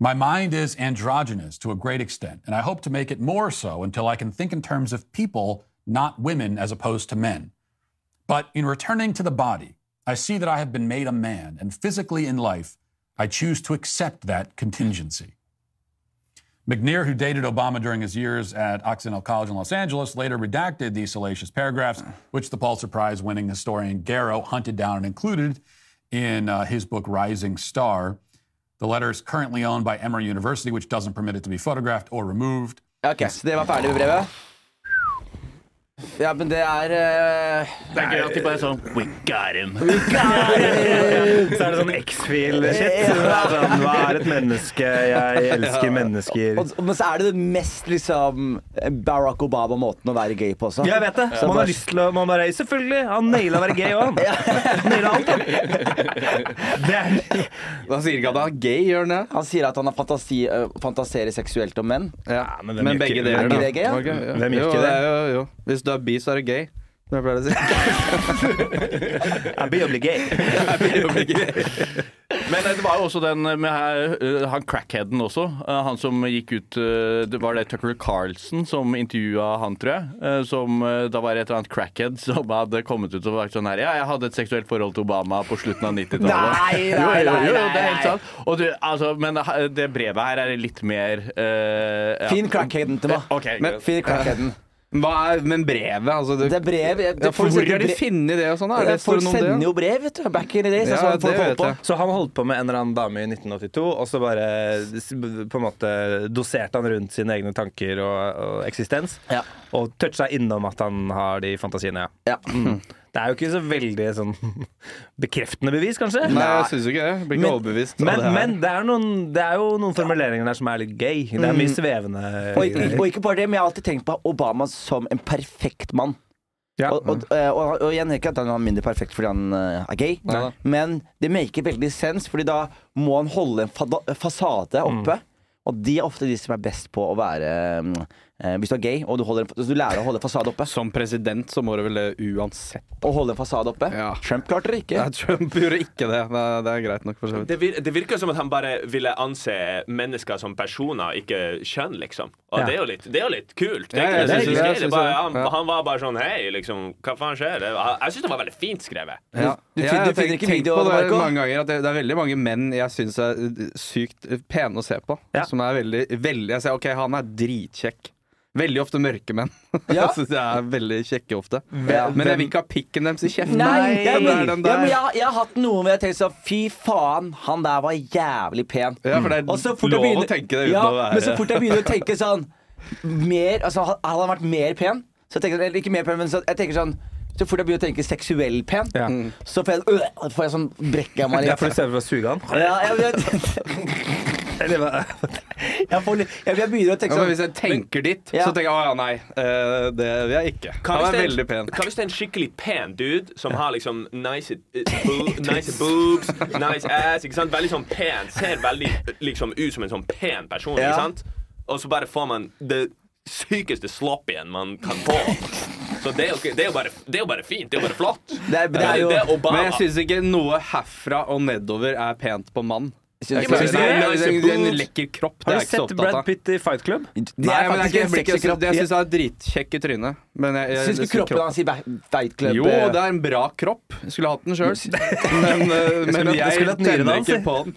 My mind is androgynous to a great extent, and I hope to make it more so until I can think in terms of people, not women, as opposed to men. But in returning to the body, I see that I have been made a man, and physically in life, I choose to accept that contingency. McNear, who dated Obama during his years at Occidental College in Los Angeles, later redacted these salacious paragraphs, which the Pulitzer Prize winning historian Garrow hunted down and included in uh, his book Rising Star. The letter is currently owned by Emory University, which doesn't permit it to be photographed or removed. Ok, så det var ferdig med brevet? Ja, men det er eh, Det er gøy at de bare er sånn We got him. Så er det sånn X-Feel-shit. Sånn, Hva er et menneske? Jeg elsker mennesker. og, Men så er det den mest liksom Barack Obama-måten å være gay på også. Jeg vet det. Man Så bare- har lyst til å man bare, Selvfølgelig! Han naila å være gay òg, han. Naila alt, han. Det er Han sier ikke at han er gay, gjør han det? Han sier at han har fantasi, øh, fantaserer seksuelt om menn. Ja. men Men, hvem gjør begge ikke- deler, Er da. ikke det gay, ja? Ok, ja. Hvem gjør jo, ikke det? er jo, jo. Hvis du er bi, så er du gay. Som jeg pleier å si. I'm be gay. Men eh, det var jo også den med her- eh, han crackheaden også. Eh, Han som gikk ut eh, Det var det Tucker Carlson som intervjua han, tror jeg. Eh, Som eh, da var det et eller annet crackhead som hadde kommet ut og vært sånn her Ja, jeg hadde et seksuelt forhold til Obama på slutten av 90-tallet. Nei, nei, Jo, jo, jo, nei, det er nei. helt sant. Og du, altså, men eh, det brevet her er litt mer eh, ja. Fin crackheaden til meg. Eh, ok, Men, greit. fin crackheaden. <laughs> Hva er, men brevet, altså det, Det er brev. jeg- ja, det- for folk Hvor sender har de brev- funnet det og sånn? da? Er Ja, det- står Folk det noe om det, sender ja? jo brev, vet du. Back in the days. Ja, altså, det folk holdt vet på. jeg. Så han holdt på med en eller annen dame i 1982, og så bare s- på en måte doserte han rundt sine egne tanker og, og eksistens. Ja. Og toucha innom at han har de fantasiene, ja. Ja. Mm. Det er jo ikke så veldig sånn <laughs> bekreftende bevis, kanskje? Nei, jeg syns jo ikke det. Jeg Blir ikke overbevist men, av det her. men det, er noen, det er jo noen formuleringer der som er litt gøy. Det er mye svevende Og, ikke- og ikke bare det, men jeg har alltid tenkt på Obama som en perfekt mann. Ja. Og, og, og, og, og igjen ikke at han er mindre perfekt fordi han eh, er gay, Nei. men det maker veldig sens, Fordi da må han holde en fada, eh, fasade Mm. oppe. Og de er ofte de som er best på å være mm, eh, Hvis du er gay og du, holder en, fa- så du lærer å holde en fasade oppe. Som president så må du vel det uansett Å holde en fasade oppe Ja. Trump klarte det ikke. Nei, Trump gjorde ikke det. Det er, det er greit nok, for så vidt. Det, vir det virker som at han bare ville anse mennesker som personer, ikke kjønn, liksom. Og Ja. det, er jo litt, det er jo litt kult. Ja, ja, egentlig. Jeg det er- synes det det er- er gøy. Det er bare, synes jeg. han, Ja. han var bare sånn Hei, liksom, hva faen skjer? Det var- Jeg syns det var veldig fint skrevet. Ja. du Ja, fin- du jeg finner tenk- ikke tenk video på av det Marco? mange ganger at det, det er veldig mange menn jeg syns er uh, sykt uh, pene å se på. Ja. Som er veldig, veldig Jeg sier OK, han er dritkjekk. Veldig ofte mørke menn. <laughs> Ja. jeg syns de er veldig kjekke ofte. Ja. Men jeg vil ikke ha pikken deres i kjeften. Nei! Det Jeg, er den ja, men der. jeg, jeg har hatt noen hvor jeg har tenkt sånn Fy faen, han der var jævlig pen. Ja, for det er Og så fort lov jeg begynner, å tenke det uten ja, å være Men så fort jeg begynner å tenke sånn mer, altså, Hadde han vært mer pen? Så jeg tenker, sånn, eller ikke mer pen, men så, jeg tenker sånn Så fort jeg begynner å tenke seksuell pen, Ja. så får jeg, øh, får jeg sånn brekker jeg meg Ja, litt. for du ser for deg sugean? Ja, jeg, vet- Eller hva? jeg, får litt- jeg, jeg begynner å Ja, tenke men sånn hvis jeg tenker dit, Ja. så tenker jeg å ja, nei. eh, det vil jeg ikke. Han er veldig pen. Hva hvis det er en skikkelig pen dude som har liksom nice, eh, bo nice boobs, nice ass, ikke sant? Veldig sånn pen, ser veldig eh, liksom ut som en sånn pen person, Ja. ikke sant? Og så bare får man det sykeste sloppyen man kan få. Så det er jo, ikke- det er jo, bare, det er jo bare fint, det er jo bare flott. Det er- det er jo- det er Obama. Men jeg syns ikke noe herfra og nedover er pent på mann. Synes Jeg du- synes det er Nice en- en- en boobs. lekker kropp. Det Har du er jeg ikke så sett opptatt Brad av. Pitt i Fight <laughs> Club? Det Nei, er men jeg, faktisk jeg, en blir ikke, sexy så- kropp. jeg Jeg syns han er dritkjekk i trynet. Men jeg, jeg, syns jeg ikke kroppen hans i veitklubb Jo, det er en bra kropp. Jeg skulle hatt den <laughs> sjøl. <laughs> Men, eh, men hatt- jeg, jeg skulle hatt nyrene tenner hans, ikke jeg. på den.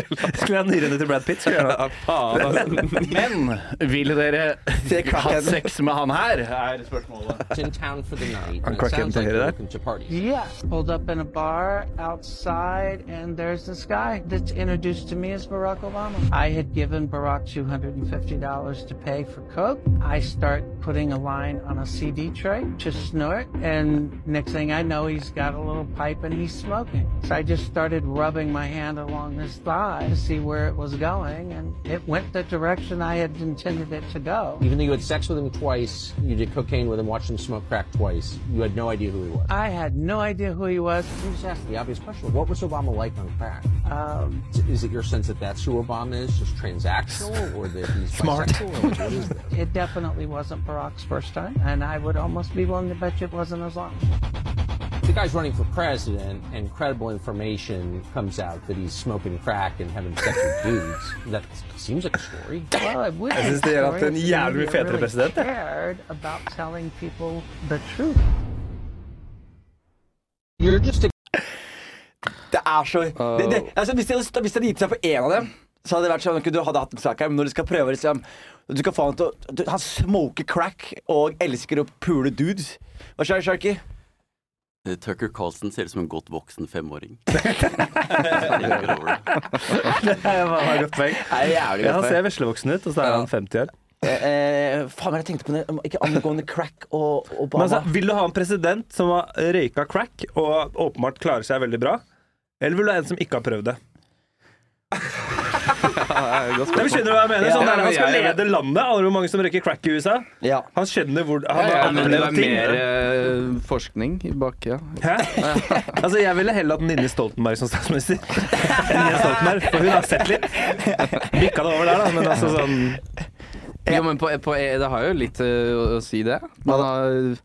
Skulle jeg ha nyrene til Brad Pitt? Skulle jeg ha. Ja, faen, altså. Men vil <laughs> dere Se crackheaden. ha sex med han her? er spørsmålet. in town for the night. Han crackheaden til høyre der. Yeah, pulled up in a bar outside, and there's this guy that's introduced to me as Barack Obama. I had given Barack $250 to pay for Coke. I start putting a line on a CD tray to snort, and next thing I know, he's got a little pipe and he's smoking. So I just started rubbing my hand along his thigh to see where it was going, and it went the direction I had intended it to go. Even though you had sex with him twice, you did cocaine with him, watched him smoke crack twice, you had no idea who he was. I had no idea who he was. You just asked the obvious question. What was Obama like on crack? Um, Is it your sense that that's who Obama is, just transactional, or that he's Smart. bisexual? Or like, what is this? It definitely wasn't Barack's first time, and I would almost be willing to bet you it wasn't his last. The guy's running for president, and credible information comes out that he's smoking crack and having sex with dudes. That seems like a story. Well, it would synes det gjør at en jævlig mye fetere president, jeg. Scared about telling people the truth. You're just a Det er så det, det, altså, hvis, de hadde, stå- hvis de hadde gitt seg for én av dem, så hadde det vært sånn ok, du hadde hatt en sak her, men når du skal prøve liksom, du skal få Han til å du- Han smoker crack og elsker å pule dudes. Hva skjer, Sharky? Eh, Tucker Carlson ser ut som en godt voksen <laughs> femåring. Tenker over det. Jeg har godt poeng. Det er jævlig Ja, han ser veslevoksen ut, og så er han 50 år. Eh, eh, faen, hva er det jeg tenkte på det? Om- Ikke angående crack og og Men Obama. altså, vil du ha en president som har røyka crack og åpenbart klarer seg veldig bra? Eller vil du ha en som ikke har prøvd det? Nei, men skjønner du hva jeg mener? Ja, Sånn ja, der, han men skal jeg- lede landet. Aner du hvor mange som røyker crack i USA? ja. Han skjønner hvor Han Ja, har men det er opplevd ting. mer eh, forskning i bak, ja. Hæ? Altså, jeg ville heller hatt Nini Stoltenberg som statsminister. Enn Jens Stoltenberg, for hun har sett litt. Bikka det over der, da, men altså sånn Jo, men på, på, det har jo litt øh, å si, det. Man har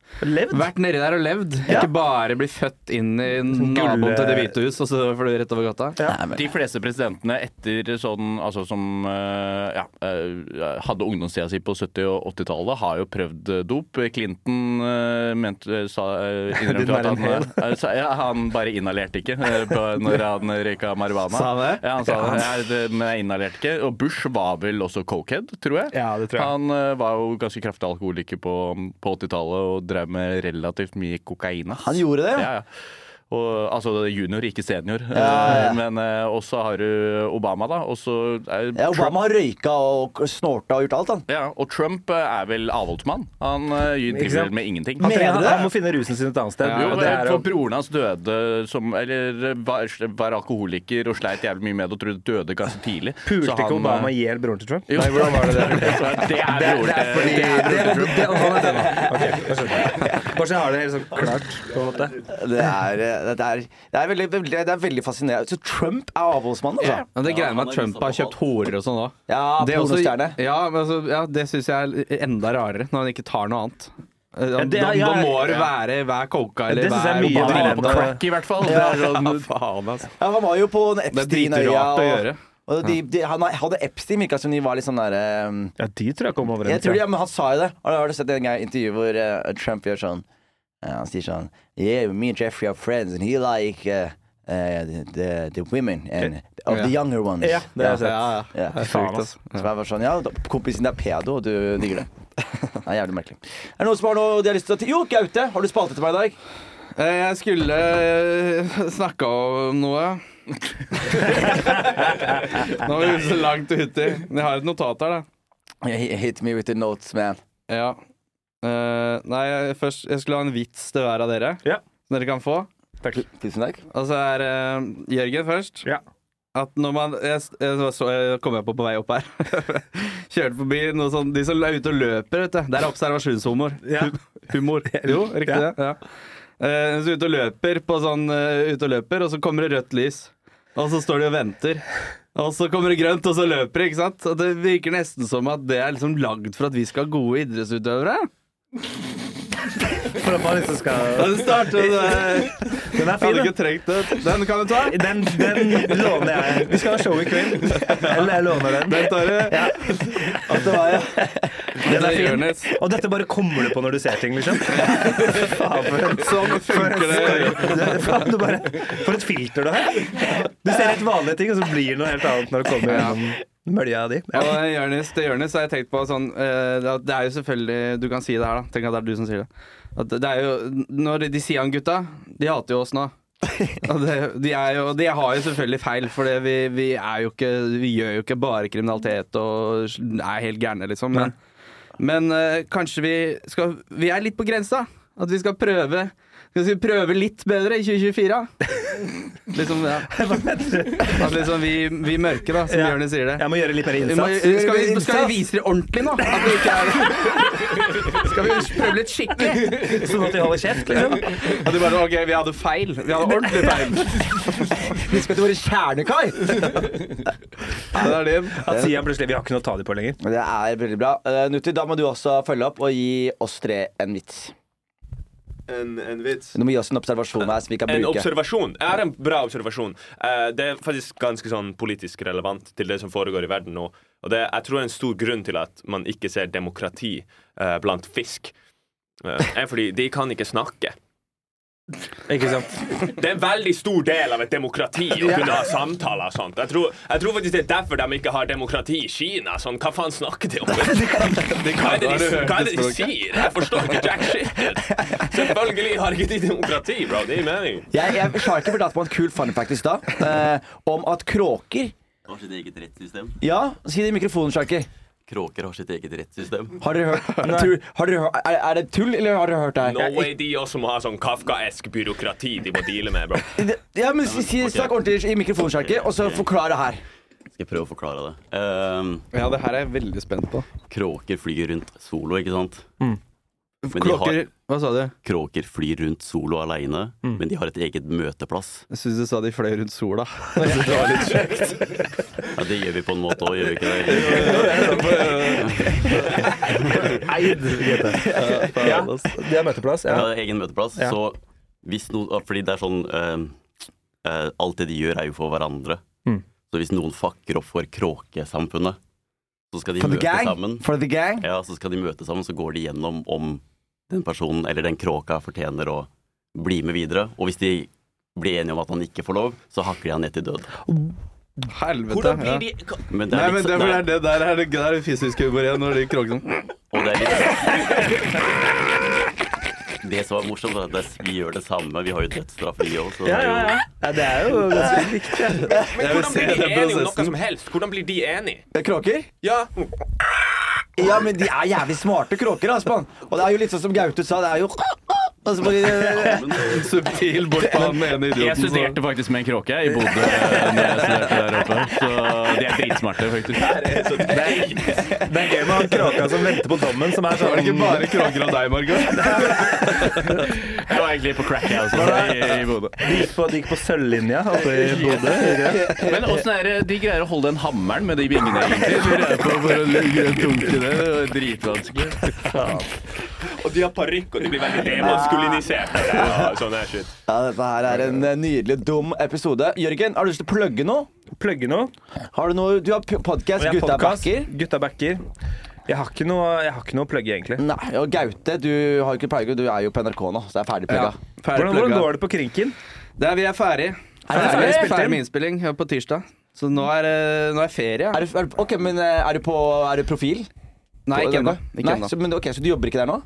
vært nedi der og levd. Ikke bare bli født inn i Sånn naboen til Det hvite hus, og så får du rett over gata. De fleste presidentene etter sånn Altså som eh, ja, eh, hadde ungdomstida si på 70- og 80-tallet, har jo prøvd eh, dop. Clinton eh, mente, sa, eh, innrømte at han, eh, sa, ja, han bare inhalerte ikke eh, på- når han røyka marihuana. Sa han det? Ja, han sa det. Ja, det, men jeg inhalerte ikke. Og Bush var vel også cokehead, tror jeg. Ja, det tror jeg. Han eh, var jo ganske kraftig alkoholiker på, på 80-tallet og drev med relativt mye kokain. ass. Han gjorde det, ja. Ja, ja. Og, altså det er junior, ikke senior. ja, ja. Eh, Men eh, også har du Obama, da. Og så er Ja, Trump, Obama har røyka og snorta og gjort alt, han. ja, og Trump eh, er vel avholdsmann. Han eh, sant? driver vel med ingenting. Han, trener, Mener du det? han må finne rusen sin et annet sted. Jo, og det er for jo broren hans døde som Eller var, var alkoholiker og sleit jævlig mye med det og trodde døde ganske tidlig. Så Pulte han, ikke Obama eh, i hjel broren til Trump? jo, hvordan var det <laughs> det? Det er broren til fordi det er <laughs> det- han broren til Trump. er denne. Ok, da skjønner jeg. Bare så jeg har det helt sånn klart, på en måte. Det er, eh, det er, det er, veldig, veldig, det er veldig fascinerende. Så Trump er avholdsmann, altså? Men det greiene med han at har Trump har lyst kjøpt horer og sånn òg. Ja, pornostjerne. ja, men altså, ja, det syns jeg er enda rarere, når han ikke tar noe annet. Eh, Da, det er- da, da ja, må det ja. være hver coca eller Det synes jeg er hver mye Obama. Han var drillende. på crack, i hvert fall. Det er sånn, Ja, faen, altså. Ja, han var jo på den Det er dritrart Epstein-øya. å gjøre. og- Og de, de, han hadde Epstein, virka som de var litt sånn derre um, Ja, de tror jeg kom Jeg overens. tror, ja. ja, men han sa jo det. Har du- Har du sett det gang intervjuet hvor eh, Trump gjør sånn eh, Han sier sånn Yeah, me and Jeffrey are friends, and he like eh, eh, the, the women and of the younger ones. Ja, det har jeg sett. Ja. Faen, ass. Så jeg var sånn, ja, da- kompisen din er pedo, og du digger det. Det er jævlig merkelig. Er det noen som har noe de har lyst til å Jo, Gaute! Har du spalte til meg i dag? Eh, Jeg skulle eh, <laughs> snakke om noe. Nå er vi så langt uti. Men Jeg har et notat her, da. Hit hit me with the notes, man. Ja. Eh, nei, jeg- først Jeg skulle ha en vits til hver av dere. Ja. Som dere kan få. Tusen takk. Og så er eh, Jørgen først. Ja. At når man Jeg, jeg, så, jeg kom jeg på på vei opp her. <laughs> Kjørte forbi noe sånn De som er ute og løper, vet du. Det er observasjonshumor. Ja. Humor. Jo, <laughs> riktig Ja. det. Ja. Eh, så ute og løper på sånn eh, ute og løper, og så kommer det rødt lys. Og så står de og venter. Og så kommer det grønt, og så løper de, ikke sant? Og det virker nesten som at det er liksom lagd for at vi skal ha gode idrettsutøvere. For at man liksom Ja, skal det startet eh, Den er Jeg fin, hadde da. ikke trengt det. Den kan du ta. Den, den låner jeg. Vi skal ha show i kveld. Eller jeg låner den. Den tar du. At det var, ja. Den Det er er fin. Jonis. Og dette bare kommer du på når du ser ting, liksom. Faen, for en Sånn funker <laughs> det. skarp- Faen, du bare, for et filter du har. Du ser helt vanlige ting, og så blir det noe helt annet når det kommer gjennom mølja di. Ja. Og Jørnis, til Jørnis har jeg tenkt på sånn eh, at Det er jo selvfølgelig Du kan si det her, da. Tenk at det er du som sier det. At det er jo Når de sier han gutta, de hater jo oss nå. Og det, de, er jo, de har jo selvfølgelig feil, for det vi, vi er jo ikke Vi gjør jo ikke bare kriminalitet og er helt gærne, liksom. Men, men eh, kanskje vi skal Vi er litt på grensa. At vi skal prøve Skal vi prøve litt bedre i 2024? Liksom, <laughs> ja. At liksom vi, vi mørke, da, som Ja. Jørnis sier det. Jeg må gjøre litt mer Vi må, innsats. skal, vi, skal vi vise det ordentlig nå? At vi ikke er Skal vi prøve litt skikkelig? Sånn at de holder kjeft, liksom. Og de bare OK, vi hadde feil. Vi hadde ordentlig feil. <laughs> Vi skal til våre kjernekar! <laughs> Den er din. At Sia plutselig Vi har ikke noe å ta dem på lenger. Det er veldig bra. Eh, Nutti, da må du også følge opp og gi oss tre en vits. En, en vits. Du må gi oss en observasjon her som vi kan En bruke. observasjon er en bra observasjon. Eh, det er faktisk ganske sånn politisk relevant til det som foregår i verden nå. Og det, jeg tror det er en stor grunn til at man ikke ser demokrati eh, blant fisk. Eh, er fordi de kan ikke snakke. Ikke sant? Det er en veldig stor del av et demokrati å kunne ha samtaler og sånt. Jeg tror, jeg tror faktisk det er derfor de ikke har demokrati i Kina. Sånn, hva faen snakker de om? Hva er det de, hva er det de sier? Jeg forstår ikke jack shit. Selvfølgelig har ikke de demokrati, bro. Det gir mening. Jeg, jeg har ikke fortalt på en kul fun fact i stad eh, om at kråker Har sitt eget rettssystem. Ja, si det i mikrofonen, Sjarker. Kråker har sitt eget <laughs> rettssystem. Har dere hørt tror, har dere, hørt- er, er det tull, eller har dere hørt det her? No way de også må ha sånn kafkaesk byråkrati de må deale med, <laughs> bro. Det- Ja, men si, si, Ok. Snakk ordentlig i mikrofonen, Sjarker, og så forklar det her. Skal jeg prøve å forklare det. Ehm, Ja, det her er jeg veldig spent på. kråker flyr rundt solo, ikke sant? Men de har, Klokker Hva sa du? kråker flyr rundt solo aleine, men de har et eget møteplass. Jeg syns du sa de fløy rundt sola. Ja, det gjør vi på en måte òg, gjør vi ikke det? Eid GT. Ja, det er møteplass. <laughs> Ja, Ja. det er egen møteplass. Ja. Så hvis noen Fordi det er sånn eh, eh, Alt det de gjør, er jo for hverandre. Mm. Så hvis noen fucker opp for kråkesamfunnet, så skal de For the møte gang? sammen. For the gang? Ja, så skal de møte sammen, så går de gjennom om den personen eller den kråka fortjener å bli med videre. Og hvis de blir enige om at han ikke får lov, så hakker de han ned til død. Helvete. Hvordan Ja. blir de Men det Nei, er men litt, det, for det nei, er det der er det, der er det fysisk humor igjen, når de kråker sånn. og det er litt Det som er morsomt, er at det- vi gjør det samme. Vi har jo dødsstraff, vi òg. Ja, ja, ja. ja, det er jo ganske likt. ja. Men hvordan se blir de den enige om noe prosessen. som helst? Hvordan blir de enige? Det er Kråker? Ja, Ja, men de er jævlig smarte kråker, Aspan. Og det er jo litt sånn som Gaute sa, det er jo <laughs> Og så må de- Subtil bort på han ene Jeg idioten. studerte faktisk med en kråke i Bodø. Når jeg studerte der oppe Så de er dritsmarte, faktisk. Det er gøy med han kråka som venter på dommen, som er Så var det ikke sånn <laughs> bare kråker og deg, Margot. Jeg var egentlig på crack jeg også, i, i <laughs> Bodø. De gikk på, de gikk på sølvlinja oppe i Bodø. ikke det? Men åssen er det de greier å holde den hammeren med de vingene, egentlig? Du greier på for å lugge en tungt i det. Det var dritvanskelig. Og de har parykk, og de blir veldig demaskuliniserte. Ja, sånn er shit. Ja, dette her er en eh, nydelig dum episode. Jørgen, har du lyst til å plugge noe? Plugge noe. Har du noe Du har podkast, Og jeg har Gutta podcast. backer. Gutta backer. Jeg har ikke noe, jeg har ikke noe å plugge, egentlig. Nei, og Gaute, du har jo ikke pleier, du er jo på NRK nå, så det er ferdig plugga. Ferdig Hvordan, hvordan plugga. går det på krinken? Det er, vi er ferdig. dere Ferdig, ferdig? ferdig med innspilling ja, på tirsdag. Så nå er, eh, nå er ferie. Er, du- er, du- ok, men eh, er du på Er du profil? Nei, ikke ennå. Ikke Nei, ennå. så, men, ok, så du jobber ikke der nå?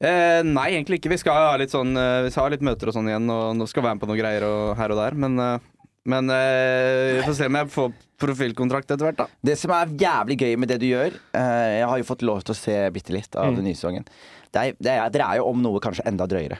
Eh, nei, egentlig ikke. Vi skal ha litt, sånn, eh, vi skal ha litt møter og sånn igjen, og nå skal vi være med på noen greier og, her og der. Men, eh, men eh, vi får se om jeg får profilkontrakt etter hvert, da. Det som er jævlig gøy med det du gjør eh, Jeg har jo fått lov til å se bitte litt Mm. av den nye sesongen. Det er, det er, dere er jo om noe kanskje enda drøyere.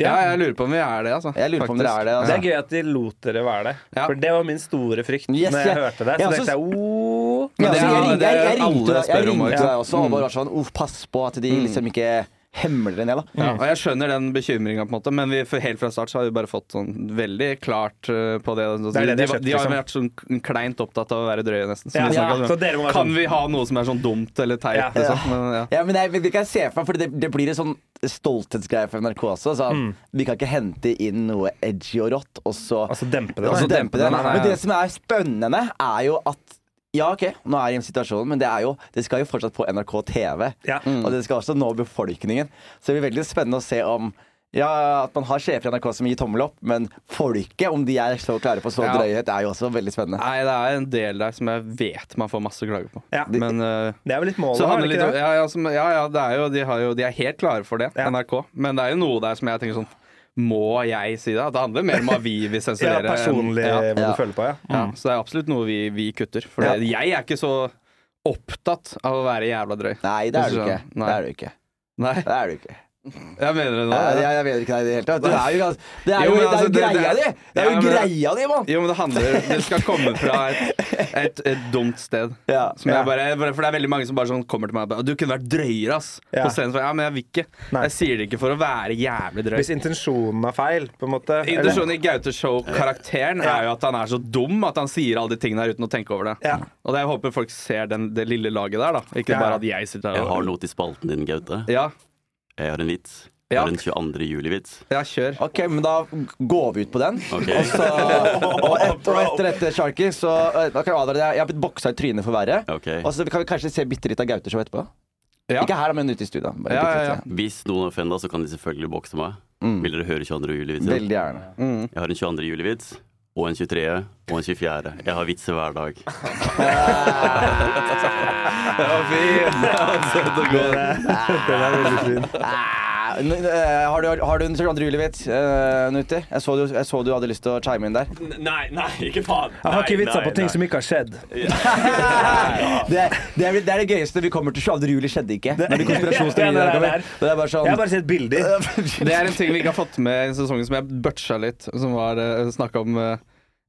Ja, jeg lurer på om vi er det, altså. Jeg lurer på om dere er det. Det Altså. er gøy at de lot dere være det. Ja. For det var min store frykt Yes, når jeg jeg- hørte det. Så jeg også- tenkte jeg oh. Ja, Men det altså, jeg, er- ringte- det er jeg, jeg alle ringte, jeg spør om, Mm. ringte ja. deg også og bare var sånn Uff, pass på at de liksom ikke hemler det ned, da. Ja, og jeg skjønner den bekymringa, på en måte, men vi, for helt fra start så har vi bare fått sånn veldig klart eh, på det. Altså, Det er det de, de har kjøpt, de har liksom. vært sånn kleint opptatt av å være drøye, nesten. som Ja, vi snakket om. så dere må være Kan sånn. vi ha noe som er sånn dumt eller teit? Ja. Liksom? Men, ja. Ja, men jeg, Det kan jeg se for meg, for det, det blir en sånn stolthetsgreie for NRK også. Så Mm. Vi kan ikke hente inn noe edgy og rått, og så Altså dempe det. og så da. dempe det. Nei, nei, nei. Men det som er spennende, er jo at ja, ok, nå er jeg i en situasjon, men det, er jo, det skal jo fortsatt på NRK TV. Ja. Og det skal også nå befolkningen. Så det blir veldig spennende å se om ja, At man har sjefer i NRK som gir tommel opp, men folket, om de er så klare for så Ja. drøyhet, er jo også veldig spennende. Nei, det er en del der som jeg vet man får masse klager på. Ja. Men eh, Det er vel litt målet, Så er handler det litt ikke om, det? ja, ja, som, ja, ja, det er jo, de, har jo, de er helt klare for det, Ja. NRK. Men det er jo noe der som jeg tenker sånn Må jeg si det? Det handler mer om hva vi <laughs> vil Ja, sensurere. personlig Ja, hva Ja. du føler på, ja. ja, så det er absolutt noe vi, vi kutter. For det, jeg er ikke så opptatt av å være jævla drøy. Nei, det er du ikke. Nei. Det er du ikke. Nei, Det er du ikke. <laughs> jeg mener det nå. Nei, ja. jeg, jeg vet ikke deg i det hele tatt. Det er jo, gans- det er Jo, jo, men det er altså, jo det- det greia er- di! Det er Ja, jo men- greia di, mann! Jo, men det handler Det skal komme fra et, et, et dumt sted. Ja. Som jeg bare, bare- for det er veldig mange som bare sånn kommer til meg og bare 'Du kunne vært drøyere, ass!' Ja. På scenen. Så, Ja, men jeg vil ikke. Nei. Jeg sier det ikke for å være jævlig drøy. Hvis intensjonen er feil, på en måte. eller- Intensjonen i Gaute Show-karakteren er jo at han er så dum at han sier alle de tingene her uten å tenke over det. Ja. Og det, jeg håper folk ser den, det lille laget der, da. Ikke Ja. bare at jeg sitter Jeg der har og noe til spalten din, Gaute. ja, Jeg har en vits. Jeg Ja. har en 22. juli-vits. ja, kjør. Ok, men da går vi ut på den. Ok. Og, så, og, et, og etter dette, Sharky, så eh, da kan jeg advare deg. Jeg har blitt boksa i trynet for verre. Ok. Og så kan vi kanskje se bitte litt av Gaute Show etterpå. Ja. Ikke her, da, men ute i studio. Bare Ja, bitte ja, ja. litt, Hvis noen er offenda, så kan de selvfølgelig bokse meg. Vil dere høre 22. ja. juli-vitsen? eh, Veldig gjerne. Jeg har en 22. juli-vits. Og en 23. og en 24. Jeg har vitser hver dag. Den er veldig fin. Ah, n- eh, Har du, har du en 22. juli-vits, eh, Nuti? Jeg, så du- jeg så du hadde lyst til å chime inn der. N- Nei, nei, ikke faen. Jeg Nei, har ikke vitsa nei, på ting nei. som ikke har skjedd. Det, det, er, det er det gøyeste. Vi kommer til 22. juli skjedde ikke. Når de konspirasjonsteoriene Ja, der det er det kommer. her. Det er bare Jeg har sånn bare sett bilder. <laughs> Det er en ting vi ikke har fått med i sesongen som jeg butcha litt, som var uh, snakka om eh,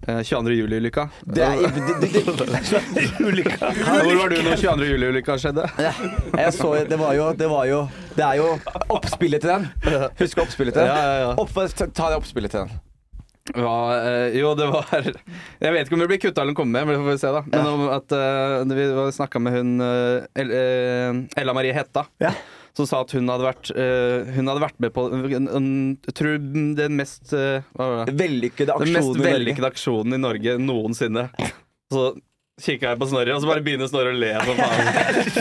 eh, 22. juli-ulykka. det er, det, det, det, Hvor var du når 22. juli-ulykka skjedde? Jeg så, det var jo Det, var jo, det er jo oppspillet til den. Husk oppspillet til den. Ja, ja, ja. Opp, ta det oppspillet til den. hva, eh, jo, det var Jeg vet ikke om det blir kutta eller kommer med, men det får vi se, da. Men om at eh, Vi snakka med hun eh, El, eh, Ella Marie Hetta. Ja. Som sa at hun hadde vært, eh, hun hadde vært med på en- en- jeg tror den mest eh, hva var det? Vellykkede Den mest aksjonen i Norge. vellykkede aksjonen i Norge noensinne. Så kikka jeg på Snorre, og så bare begynner Snorre å le <laughs> som faen.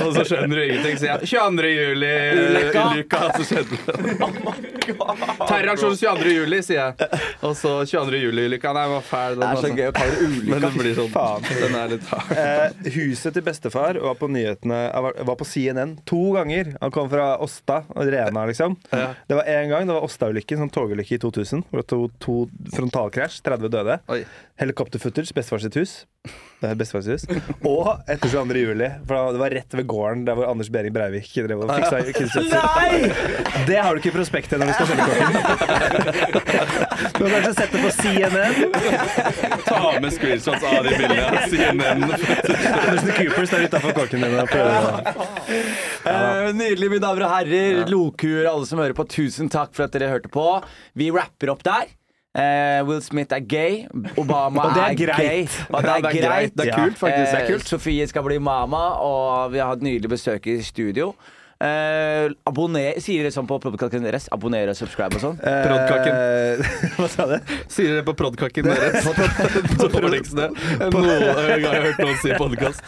Og så skjønner du ingenting. Så jeg 22. juli, Ulykka. ulykka, så skjedde det. <laughs> Oh Terroraksjon 22. juli, sier jeg. Og så 22. juli-ulykka. Nei, var fæl. Den, Det er altså. så gøy å kalle det Men ulykka. det blir sånn. Faen. Den er litt hard. Eh, huset til bestefar var på nyhetene var på CNN to ganger. Han kom fra Åsta og Rena, liksom. Det var én gang. Det var Åsta-ulykken, sånn togulykke i 2000. Hvor det to, to frontalkrasj, 30 døde. Oi. Helikopterfootage, bestefar sitt hus. Det er bestefar sitt hus. Og etter 22. juli, for det var rett ved gården der hvor Anders Behring Breivik drev og fiksa kunstgjødsel. Det har du ikke i prospektet når du skal selge kortet. Du har kanskje sett det på CNN. Ta med screenshots av de <laughs> bildene. <laughs> CNN. Andersen Coopers der utafor kåken din og prøver å Eh, Nydelig, mine damer og herrer. Lokuer, alle som hører på, tusen takk for at dere hørte på. Vi rapper opp der. Eh, Will Smith er gay. Obama Og det er er, greit. gay. Og det er, greit. Det er Ja. kult, faktisk. Det Eh, er kult. Sofie skal bli mama, og vi har hatt nydelig besøk i studio. Eh, abonner, sier dere sånn på podkasten deres? Abonner og subscribe og sånn? Proddkaken. Eh, Hva sa du? Sier dere på prodkaken deres? <laughs> På Dårligste noen gang jeg har hørt noen si podkast.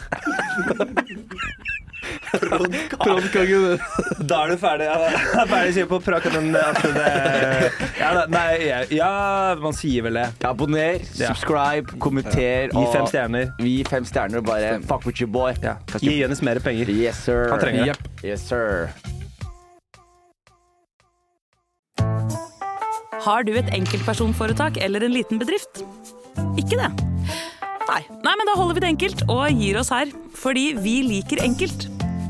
Prodkaken deres. Da er du ferdig. Ja, da er ferdig å si på prakken at <laughs> det ja, da, Nei, jeg- ja, man sier vel det. Abonner, subscribe, kommenter. Gi og- fem stjerner. Gi fem stjerner og bare fuck with your boy. Ja. Fuck Gi your- Jonis mer penger. Yes, sir. Han trenger det. Yes, sir. Har du et enkeltpersonforetak eller en liten bedrift? Ikke det? Nei. Nei, men da holder vi det enkelt og gir oss her. Fordi vi liker enkelt.